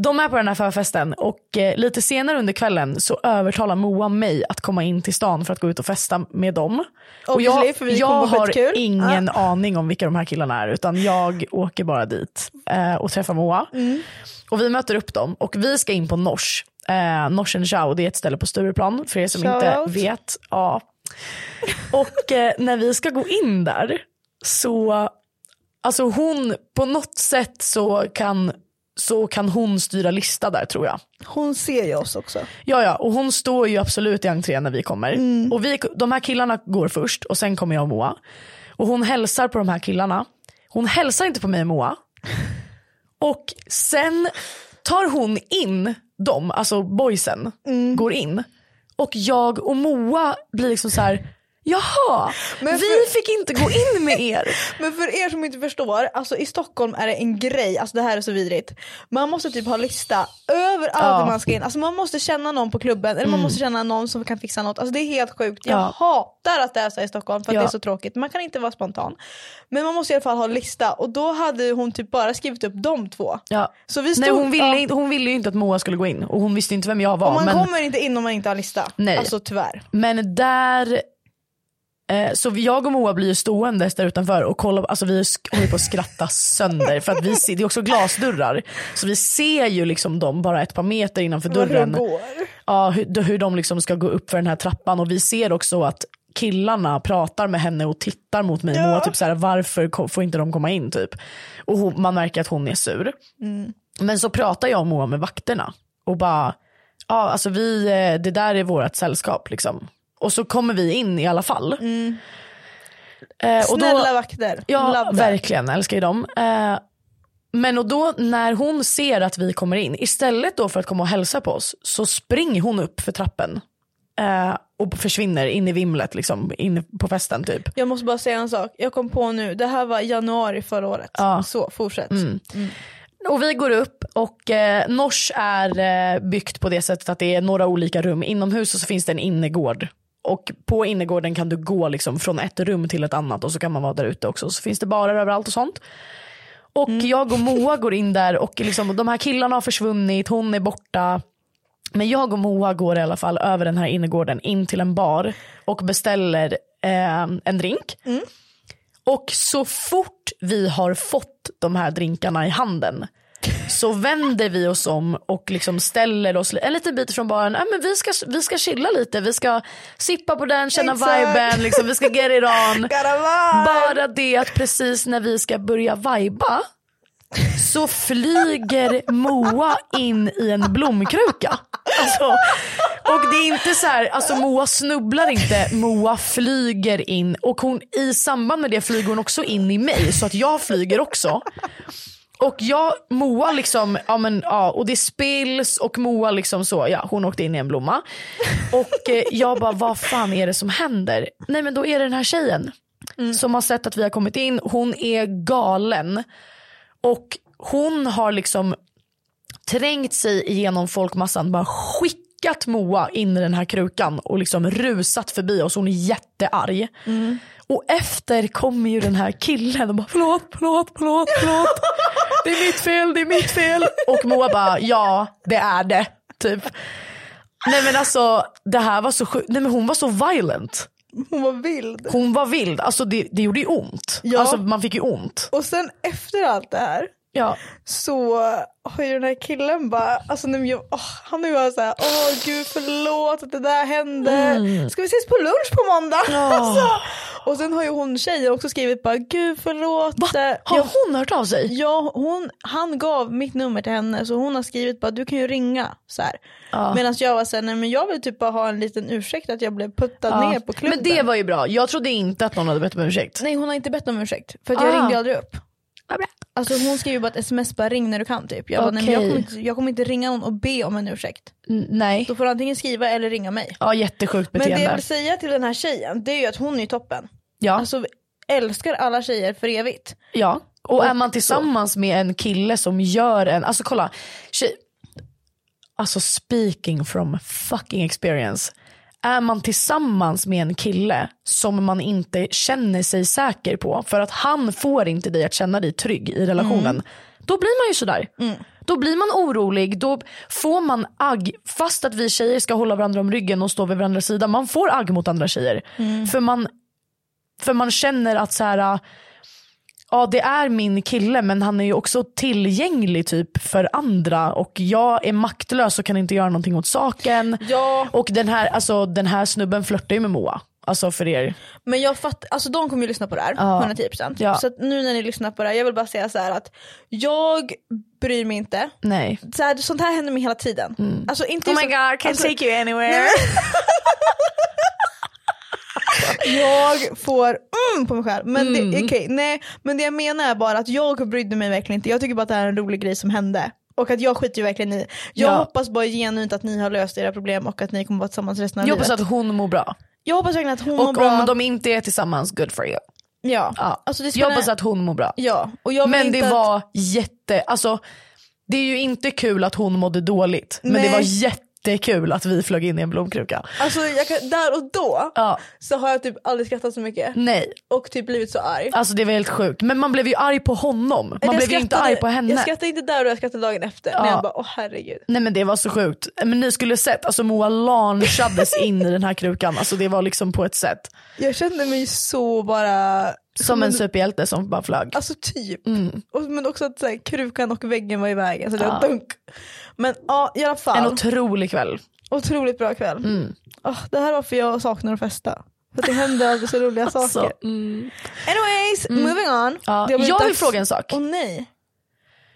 De är på den här förfesten och eh, lite senare under kvällen så övertalar Moa mig att komma in till stan för att gå ut och festa med dem. Och jag Obviously, för vi jag kommer på har skitkul. Ah. ingen aning om vilka de här killarna är utan jag åker bara dit eh, och träffar Moa. Mm. Och vi möter upp dem och vi ska in på Nors. Eh, Norsen Chow, det är ett ställe på Stureplan för er som inte Shoutout. vet. Ja. Och eh, när vi ska gå in där så Alltså hon, på något sätt så kan, så kan hon styra lista där tror jag. hon ser ju oss också. Ja ja, och hon står ju absolut i entrén när vi kommer. Och vi, de här killarna går först och sen kommer jag och Moa. Och hon hälsar på de här killarna. Hon hälsar inte på mig och Moa. Och sen tar hon in dem, alltså boysen, går in. Och jag och Moa blir liksom så här. jaha, Men vi för- fick inte gå in med er. Men för er som inte förstår, alltså i Stockholm är det en grej, alltså det här är så vidrigt. Man måste typ ha lista över allt Ja. Mm. man ska in. Alltså man måste känna någon på klubben eller man måste känna någon som kan fixa något. Alltså det är helt sjukt. Jag Ja. hatar att det är så här i Stockholm för att Ja. det är så tråkigt. Man kan inte vara spontan. Men man måste i alla fall ha lista och då hade hon typ bara skrivit upp de två. Ja. Så vi Nej, stod- hon, ville, ja. inte- hon ville ju inte att Moa skulle gå in och hon visste inte vem jag och var. man Men, kommer inte in om man inte har lista. Nej. Alltså tyvärr. men där, eh, så jag och Moa blir ju stående där utanför och kollar, alltså vi sk- håller på att skratta sönder för att vi ser, det är också glasdörrar så vi ser ju liksom dem bara ett par meter innanför Vad det dörren. går. Ja, hur, hur de liksom ska gå upp för den här trappan och vi ser också att killarna pratar med henne och tittar mot mig. Moa typ så här, varför ko- får inte de komma in typ? Och hon, man märker att hon är sur. Men så pratar jag och Moa med vakterna och bara, ja alltså vi, eh, det där är vårt sällskap liksom. Och så kommer vi in i alla fall. Eh, och då- Snälla vakter. Ja, Love that. verkligen. Älskar ju dem. Eh, men och då när hon ser att vi kommer in, istället då för att komma och hälsa på oss, så springer hon upp för trappen. Eh, och försvinner in i vimlet, liksom, in på festen typ. Jag måste bara säga en sak. Jag kom på nu, det här var januari förra året. Så fortsätt. Mm. Och vi går upp och eh, Nors är eh, byggt på det sättet att det är några olika rum inomhus och så finns det en innergård. Och på innergården kan du gå liksom från ett rum till ett annat och så kan man vara där ute också. Så finns det barer överallt och sånt. Och jag och Moa går in där och liksom, de här killarna har försvunnit, hon är borta. Men jag och Moa går i alla fall över den här innergården in till en bar och beställer eh, en drink. Och så fort vi har fått de här drinkarna i handen så vänder vi oss om och liksom ställer oss li- en liten bit från baren. Ja, men vi, ska, vi ska chilla lite, vi ska sippa på den, känna Exakt. viben, liksom, vi ska get it on. Karavai! Bara det att precis när vi ska börja vajba så flyger Moa in i en blomkruka. Alltså, och det är inte så här, alltså Moa snubblar inte, Moa flyger in och hon, i samband med det flyger hon också in i mig så att jag flyger också. Och jag, Moa liksom, ja men ja, och det spills och Moa liksom så, ja hon åkte in i en blomma. Och eh, jag bara, vad fan är det som händer? Nej men då är det den här tjejen som har sett att vi har kommit in, hon är galen. Och hon har liksom trängt sig igenom folkmassan, bara skickat Moa in i den här krukan och liksom rusat förbi oss. Hon är jättearg. Och efter kommer ju den här killen och bara förlåt, förlåt, förlåt, förlåt. Det är mitt fel, det är mitt fel. Och Moa bara ja, det är det. Typ. Nej men alltså det här var så sjukt. Nej men hon var så violent. Hon var vild. Hon var vild. Alltså det, det gjorde ju ont. Ja. Alltså man fick ju ont. Och sen efter allt det här Ja. så har ju den här killen bara, alltså nu, jag, åh, han är ju bara såhär, åh gud förlåt att det där hände, Mm. ska vi ses på lunch på måndag? Alltså, och sen har ju hon tjejen också skrivit bara, gud förlåt. Va? eh, Har jag- hon hört av sig? Ja, hon, han gav mitt nummer till henne så hon har skrivit bara du kan ju ringa. Så här. Medan jag var såhär, nej men jag vill typ bara ha en liten ursäkt att jag blev puttad Ja. ner på klubben. Men det var ju bra. Jag trodde inte att någon hade bett om ursäkt. Nej hon har inte bett om ursäkt för att jag Ah. ringde aldrig upp. Alltså hon skrev ju bara ett sms, bara ring när du kan typ. Jag, bara, nej, men jag, Okej. kommer inte, jag kommer inte ringa någon och be om en ursäkt. N- Nej. Då får du antingen skriva eller ringa mig. Ja, jättesjukt Men det beteende. jag vill säga till den här tjejen, det är ju att hon är toppen. ja. Alltså vi älskar alla tjejer för evigt. ja. Och är man tillsammans med en kille som gör en, alltså kolla, tjej, alltså speaking from fucking experience. är man tillsammans med en kille som man inte känner sig säker på för att han får inte dig att känna dig trygg i relationen. Då blir man ju sådär. Då blir man orolig, då får man agg. Fast att vi tjejer ska hålla varandra om ryggen och stå vid varandras sida, man får agg mot andra tjejer. För, man, för man känner att så här, ja det är min kille men han är ju också tillgänglig typ för andra och jag är maktlös och kan inte göra någonting åt saken. Ja. Och den här, alltså, den här snubben flörtar ju med Moa. Alltså för er. Men jag fattar, alltså de kommer ju lyssna på det här, 110%. Ja. Så att nu när ni lyssnar på det här, jag vill bara säga så här att jag bryr mig inte. Nej. Så här, sånt här händer mig hela tiden. Mm. Alltså Oh inte så- alltså, you anywhere. Jag får mm på mig själv. Men, det, okej, nej, men det jag menar är bara att jag brydde mig verkligen inte. Jag tycker bara att det här är en rolig grej som hände. Och att jag skiter ju verkligen i. Jag Ja. hoppas bara genuint att ni har löst era problem och att ni kommer vara tillsammans resten av Jag hoppas livet. att hon mår bra. Jag hoppas verkligen att hon mår Och bra. om de inte är tillsammans, good for you. Ja. Ja. Alltså, det jag spelar- hoppas att hon mår bra. Ja. Och jag vill Men inte det att- var jätte, alltså det är ju inte kul att hon mådde dåligt. Men Nej. det var jättekul att vi flög in i en blomkruka. Alltså jag kan, där och då Ja. Mm. så har jag typ aldrig skrattat så mycket. Nej, Och typ blivit så arg. alltså det var helt sjukt. Men man blev ju arg på honom. Man Jag blev ju inte skrattade- arg på henne. Jag skrattade inte där och jag skrattade dagen efter. När Ja. jag bara åh herregud. Nej men det var så sjukt. Men ni skulle sett, alltså Moa launchades in i den här krukan. Alltså det var liksom på ett sätt. Jag kände mig så bara Som en superhjälte som bara flög. Alltså typ. Mm. Och, men också att så här, krukan och väggen var i vägen så det var dunk. Men ja i alla fall. En Mm. otrolig kväll. Otroligt bra kväll. Åh, det här är varför jag saknar att festa. För att det händer alltid så roliga Så. saker. Anyways, moving on. Alltså, mm. Det Ja, har blivit jag vill dags- fråga en sak. Åh nej.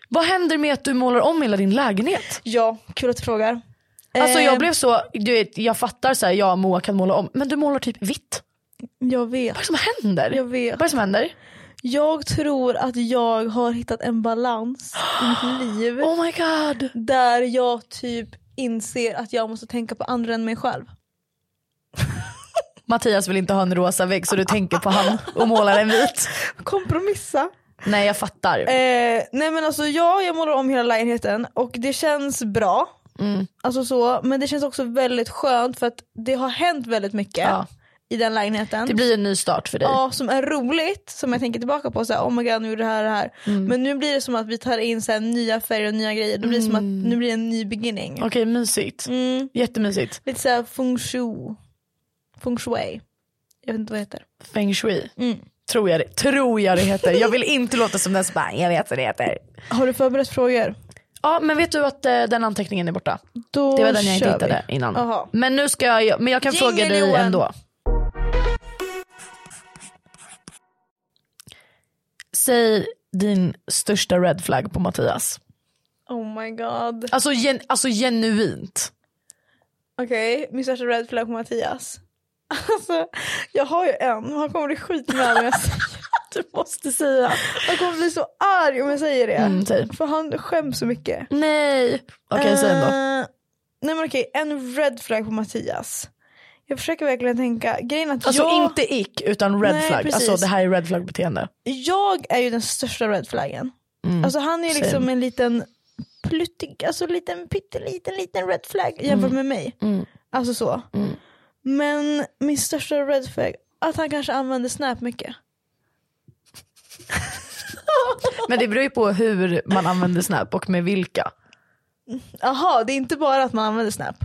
Vad händer med att du målar om hela din lägenhet? Ja, kul att du frågar. Alltså Eh, jag blev så, du vet, jag fattar så här, ja Moa kan måla om, men du målar typ vitt. Ehm, Jag vet. Vad är det som händer? Jag vet. Vad är det som händer? Jag tror att jag har hittat en balans i mitt liv. Oh my god. Där jag typ inser att jag måste tänka på andra än mig själv. Mattias vill inte ha en rosa vägg så du tänker på han och målar en vit. Kompromissa. Nej jag fattar. Eh, nej men alltså ja, jag målar om hela lägenheten och det känns bra. Mm. Alltså så, men det känns också väldigt skönt för att det har hänt väldigt mycket Ja. i den lägenheten. Det blir en ny start för dig. Ja, som är roligt, som jag tänker tillbaka på. Så här, oh my god, nu gjorde det här det här. Mm. Men nu blir det som att vi tar in så här, nya färger och nya grejer. Det blir som Mm. att nu blir det en ny beginning. Okej mysigt. Mm, Jättemysigt. lite såhär feng shui. Feng shui. Jag vet inte vad det heter. Feng shui. Tror, jag det, tror jag det heter. Jag vill inte låta som den som bara, jag vet vad det heter. Har du förberett frågor? Ja men vet du att eh, den anteckningen är borta? Då Det var den jag inte kör hittade vi. innan. Jaha. Men nu ska jag, men jag kan Jingle, fråga dig Johan. ändå. Säg din största red flag på Mattias. Oh my god. Alltså, gen, alltså genuint. Okej, min största red flag på Mattias. Alltså, jag har ju en, men han kommer bli skitnödig om jag säger Du måste säga. Han kommer bli så arg om jag säger det. Mm, säg. För han skäms så mycket. Nej. Okej säg ändå. Eh, nej men okej, en red flag på Mattias. Jag försöker verkligen tänka, grejen är att Alltså jag, inte ick utan red Nej, flag. precis. Alltså det här är red flag beteende. jag är ju den största red flaggen. Mm. Alltså han är ju same. liksom en liten pluttig, alltså liten pytteliten liten red flag jämfört med mig. Mm. Alltså så. Mm. Men min största red flag, att han kanske använder snap mycket. Men det beror ju på hur man använder Snap och med vilka. Jaha, det är inte bara att man använder snap.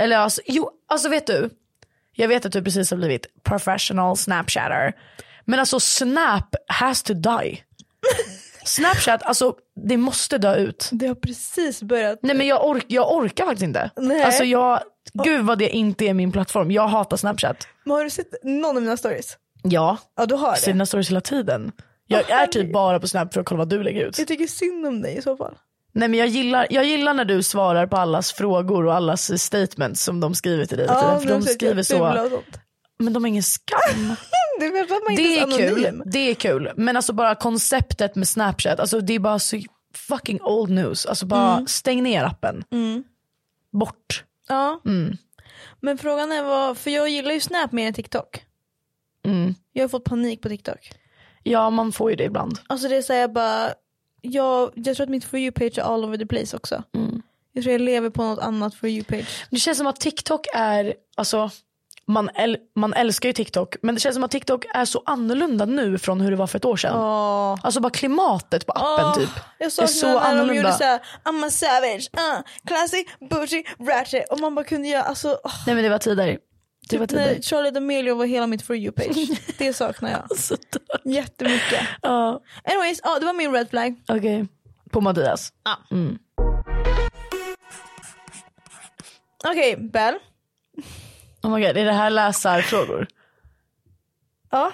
Eller alltså, jo, alltså vet du? Jag vet att du precis har blivit professional snapchatter. Men alltså snap has to die. Snapchat, alltså det måste dö ut. Det har precis börjat. Nej men jag, ork, jag orkar faktiskt inte. Nej. Alltså jag, gud vad det inte är min plattform. Jag hatar snapchat. Men har du sett någon av mina stories? Ja, Ja du har det. sina stories hela tiden. Jag är typ bara på snap för att kolla vad du lägger ut. Jag tycker synd om dig i så fall. Nej men jag gillar, jag gillar när du svarar på allas frågor och allas statements som de skriver till dig. hela tiden, men för de också att jag typ skriver är ful så, och sånt. men de har ingen skam. Det är väl att man inte Det är ens anonym. kul, det är kul. Men alltså bara konceptet med Snapchat, alltså det är bara så fucking old news. Alltså bara Mm. stäng ner appen. Bort. Ja. Mm. Men frågan är vad, för jag gillar ju Snap mer än TikTok. Mm. Jag har fått panik på TikTok. Ja man får ju det ibland. Alltså det är såhär jag bara, jag, jag tror att mitt for you-page är all over the place Mm. också. Jag tror jag lever på något annat for you-page. Det känns som att TikTok är, alltså man, äl- man älskar ju TikTok men det känns som att TikTok är så annorlunda nu från hur det var för ett år sedan. Alltså bara klimatet på appen Åh, typ. Jag är saknar så när annorlunda. de gjorde såhär, I'm a savage, uh, classic, bougie, ratchet. Och man bara kunde göra, alltså, åh, Nej men det var tider. Det var typ när tider. Charlie D'Amelio var hela mitt For You-page. det saknar jag Så dör- jättemycket. Ja, Anyways, ja det var min red flag. okej. På Madias. Okej, Bell. Oh my god, är det här läsarfrågor? Ja.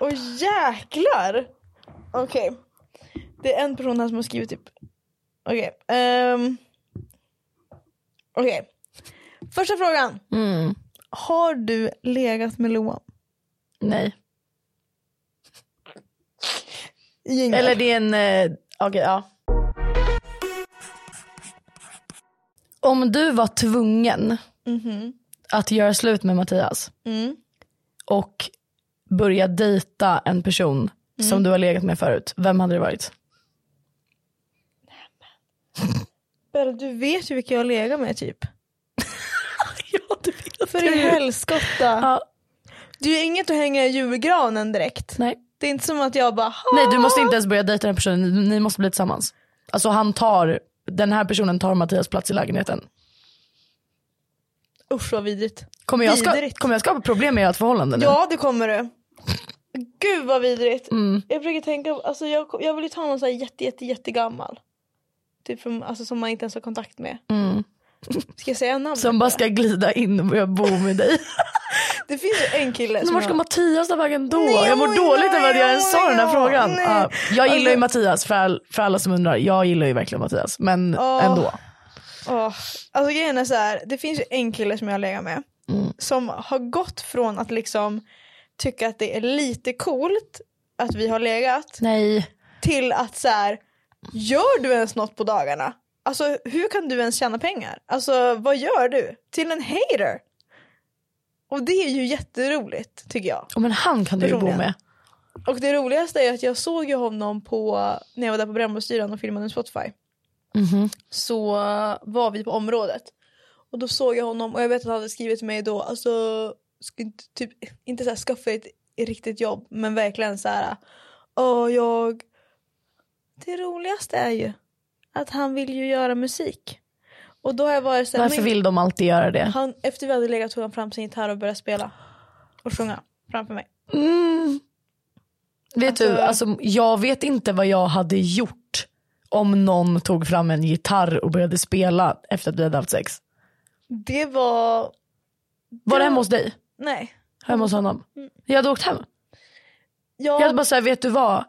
Åh jäklar! Okej. Det är en person här som har skrivit typ... Okej. ehm. Okej. Första frågan. Mm. Har du legat med Loa? Nej. Eller det är en... eh, Okej, ja. Om du var tvungen Mm-hmm. att göra slut med Mattias Mm. och börja dejta en person Mm. som du har legat med förut, vem hade det varit? Bell, du vet ju vilka jag legat med typ. Ja, du vet För i helskotta. Typ. Ja, Det är ju inget att hänga i julgranen direkt. nej. Det är inte som att jag bara "Ha." nej, du måste inte ens börja dejta den personen, ni, ni måste bli tillsammans. Alltså han tar, den här personen tar Mattias plats i lägenheten. Usch vad vidrigt. Kommer jag, ska, Vidrigt. kommer jag skapa problem med ert förhållande nu? Ja det kommer du. Gud vad vidrigt. Mm. Jag brukar tänka, alltså jag, jag vill ju ta någon så här jätte jätte jättegammal. Typ från, alltså som man inte ens har kontakt med. Ska jag säga namnet? Mm. Som bara ska glida in och börja bo med dig. Det finns ju en kille Men som vart ska jag- Mattias ta vägen då? Nej, jag mår oj, dåligt nej, över att jag ens sa oj, den här ja, frågan. nej. Ja, jag gillar ju Alltså- Mattias, för, all, för alla som undrar. Jag gillar ju verkligen Mattias, men Ja. ändå. Åh, Alltså grejen är så här, det finns ju en kille som jag har legat med Mm. som har gått från att liksom tycka att det är lite coolt att vi har legat Nej. till att så här, gör du ens något på dagarna? Alltså hur kan du ens tjäna pengar? Alltså vad gör du? Till en hater. Och det är ju jätteroligt tycker jag. Oh, men han kan du ju bo Personligen. med. Och det roligaste är att jag såg ju honom på, när jag var där på Brännbosyran och filmade med Spotify. Mhm. Så var vi på området. Och då såg jag honom och jag vet att han hade skrivit till mig då, alltså, ska inte, typ, inte så här, skaffa ett riktigt jobb men verkligen så här, åh jag... Det roligaste är ju att han vill ju göra musik. Och då har jag varit så här, Varför men- vill de alltid göra det? han, efter vi hade legat tog han fram sin gitarr och började spela. Och sjunga framför mig. Vet du, Alltså- alltså, jag vet inte vad jag hade gjort om någon tog fram en gitarr och började spela efter att vi hade haft sex. Det var... Var det Ja. Mm. hemma hos dig? Nej. Hemma hos honom? Jag hade åkt hem. Jag, Jag hade bara såhär, vet du vad?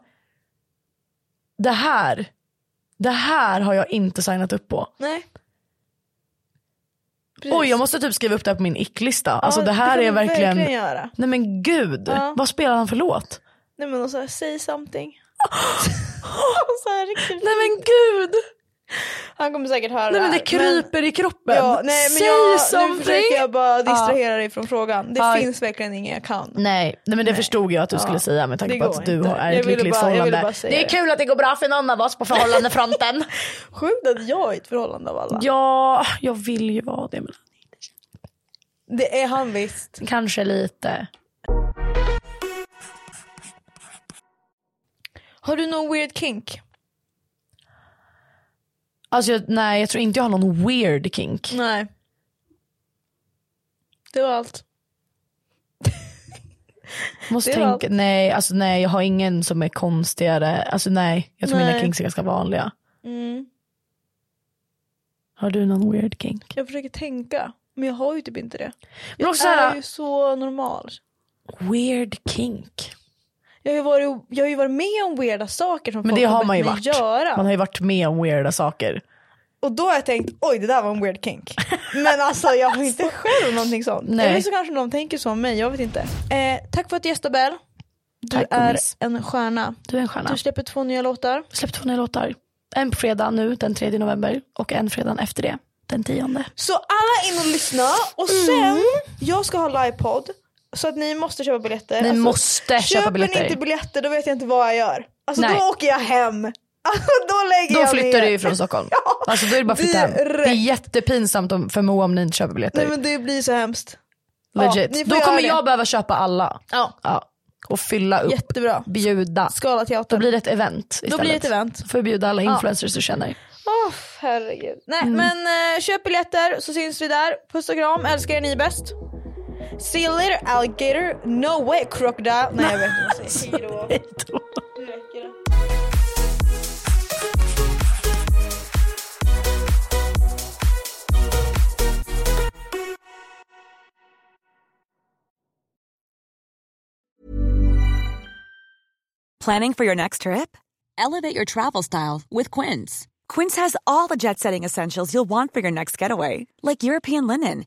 Det här, det här har jag inte signat upp på. Nej. Precis. Oj jag måste typ skriva upp det här på min icklista. Ja, alltså det här kan är man verkligen, göra. nej men gud. Ja. Vad spelar han för låt? Nej men och så här, say something. så här, riktigt... Nej men gud. Han kommer säkert höra Nej det men det här, kryper i kroppen. Men... Ja, nej, men Säg jag, Nu something. försöker jag bara distrahera dig från frågan. Det Ja. Mm. finns verkligen ingen jag kan. Nej, nej men det förstod jag att du skulle säga med tanke det på går att du inte. har Jag är ett ville bara- lyckligt jag ville förhållande. bara säga Det är det. kul att det går bra för någon av oss på förhållandefronten. Sjukt att jag är ett förhållande av alla. ja, jag vill ju vara det men Det är han visst. kanske lite. Har du någon weird kink? Alltså jag, nej jag tror inte jag har någon weird kink. Nej. Det var allt. Måste Det var tänka, nej, alltså nej jag har ingen som är konstigare. Alltså nej, Mm. jag tror mina Nej. kinks är ganska vanliga. Har du någon weird kink? Jag försöker tänka. Men jag har ju typ inte det. Men också Jag är såhär, ju så normal. weird kink. Jag har ju varit, jag har ju varit med om weirda saker som Men folk det har bett man ju mig varit. göra. Man har ju varit med om weirda saker. Och då har jag tänkt, oj det där var en weird kink. Men alltså jag har inte själv någonting sånt. Nej. Eller så kanske någon tänker så om mig, jag vet inte. Eh, tack för att du gästade Bell. Du Tack, är gummis. en stjärna. Du är en stjärna. Du släpper två nya låtar. Släpp två nya låtar. En på fredag nu den 3 november och en fredag efter det den 10. Så alla in och lyssna. Och Mm. sen, jag ska ha livepodd. Så att ni måste köpa biljetter. Alltså, Ni måste köpa biljetter. Köper ni inte biljetter då vet jag inte vad jag gör. Alltså Nej. då åker jag hem. Alltså, då lägger Då jag flyttar ner. du ju från Stockholm. Alltså då är det bara att flytta hem. Det är Direkt. jättepinsamt om- för Moa om ni inte köper biljetter. Nej men det blir så hemskt. typ. Legit. ni får Då göra kommer det. jag behöva köpa alla. Ja. Och fylla upp. Jättebra. Bjuda. Skala Då teater. blir det ett event istället. blir det ett event. Så får jag bjuda alla influencers du känner. Åh herregud. Nej Mm. men eh, köp biljetter så syns vi där. Puss och kram, älskar er ni bäst. See you later alligator, no way crocodile. Nej jag vet inte vad jag säger. Hejdå. Hej då. Nu räcker det. Planning for your next trip? Elevate your travel style with Quince. Quince has all the jet setting essentials you'll want for your next getaway, like European linen,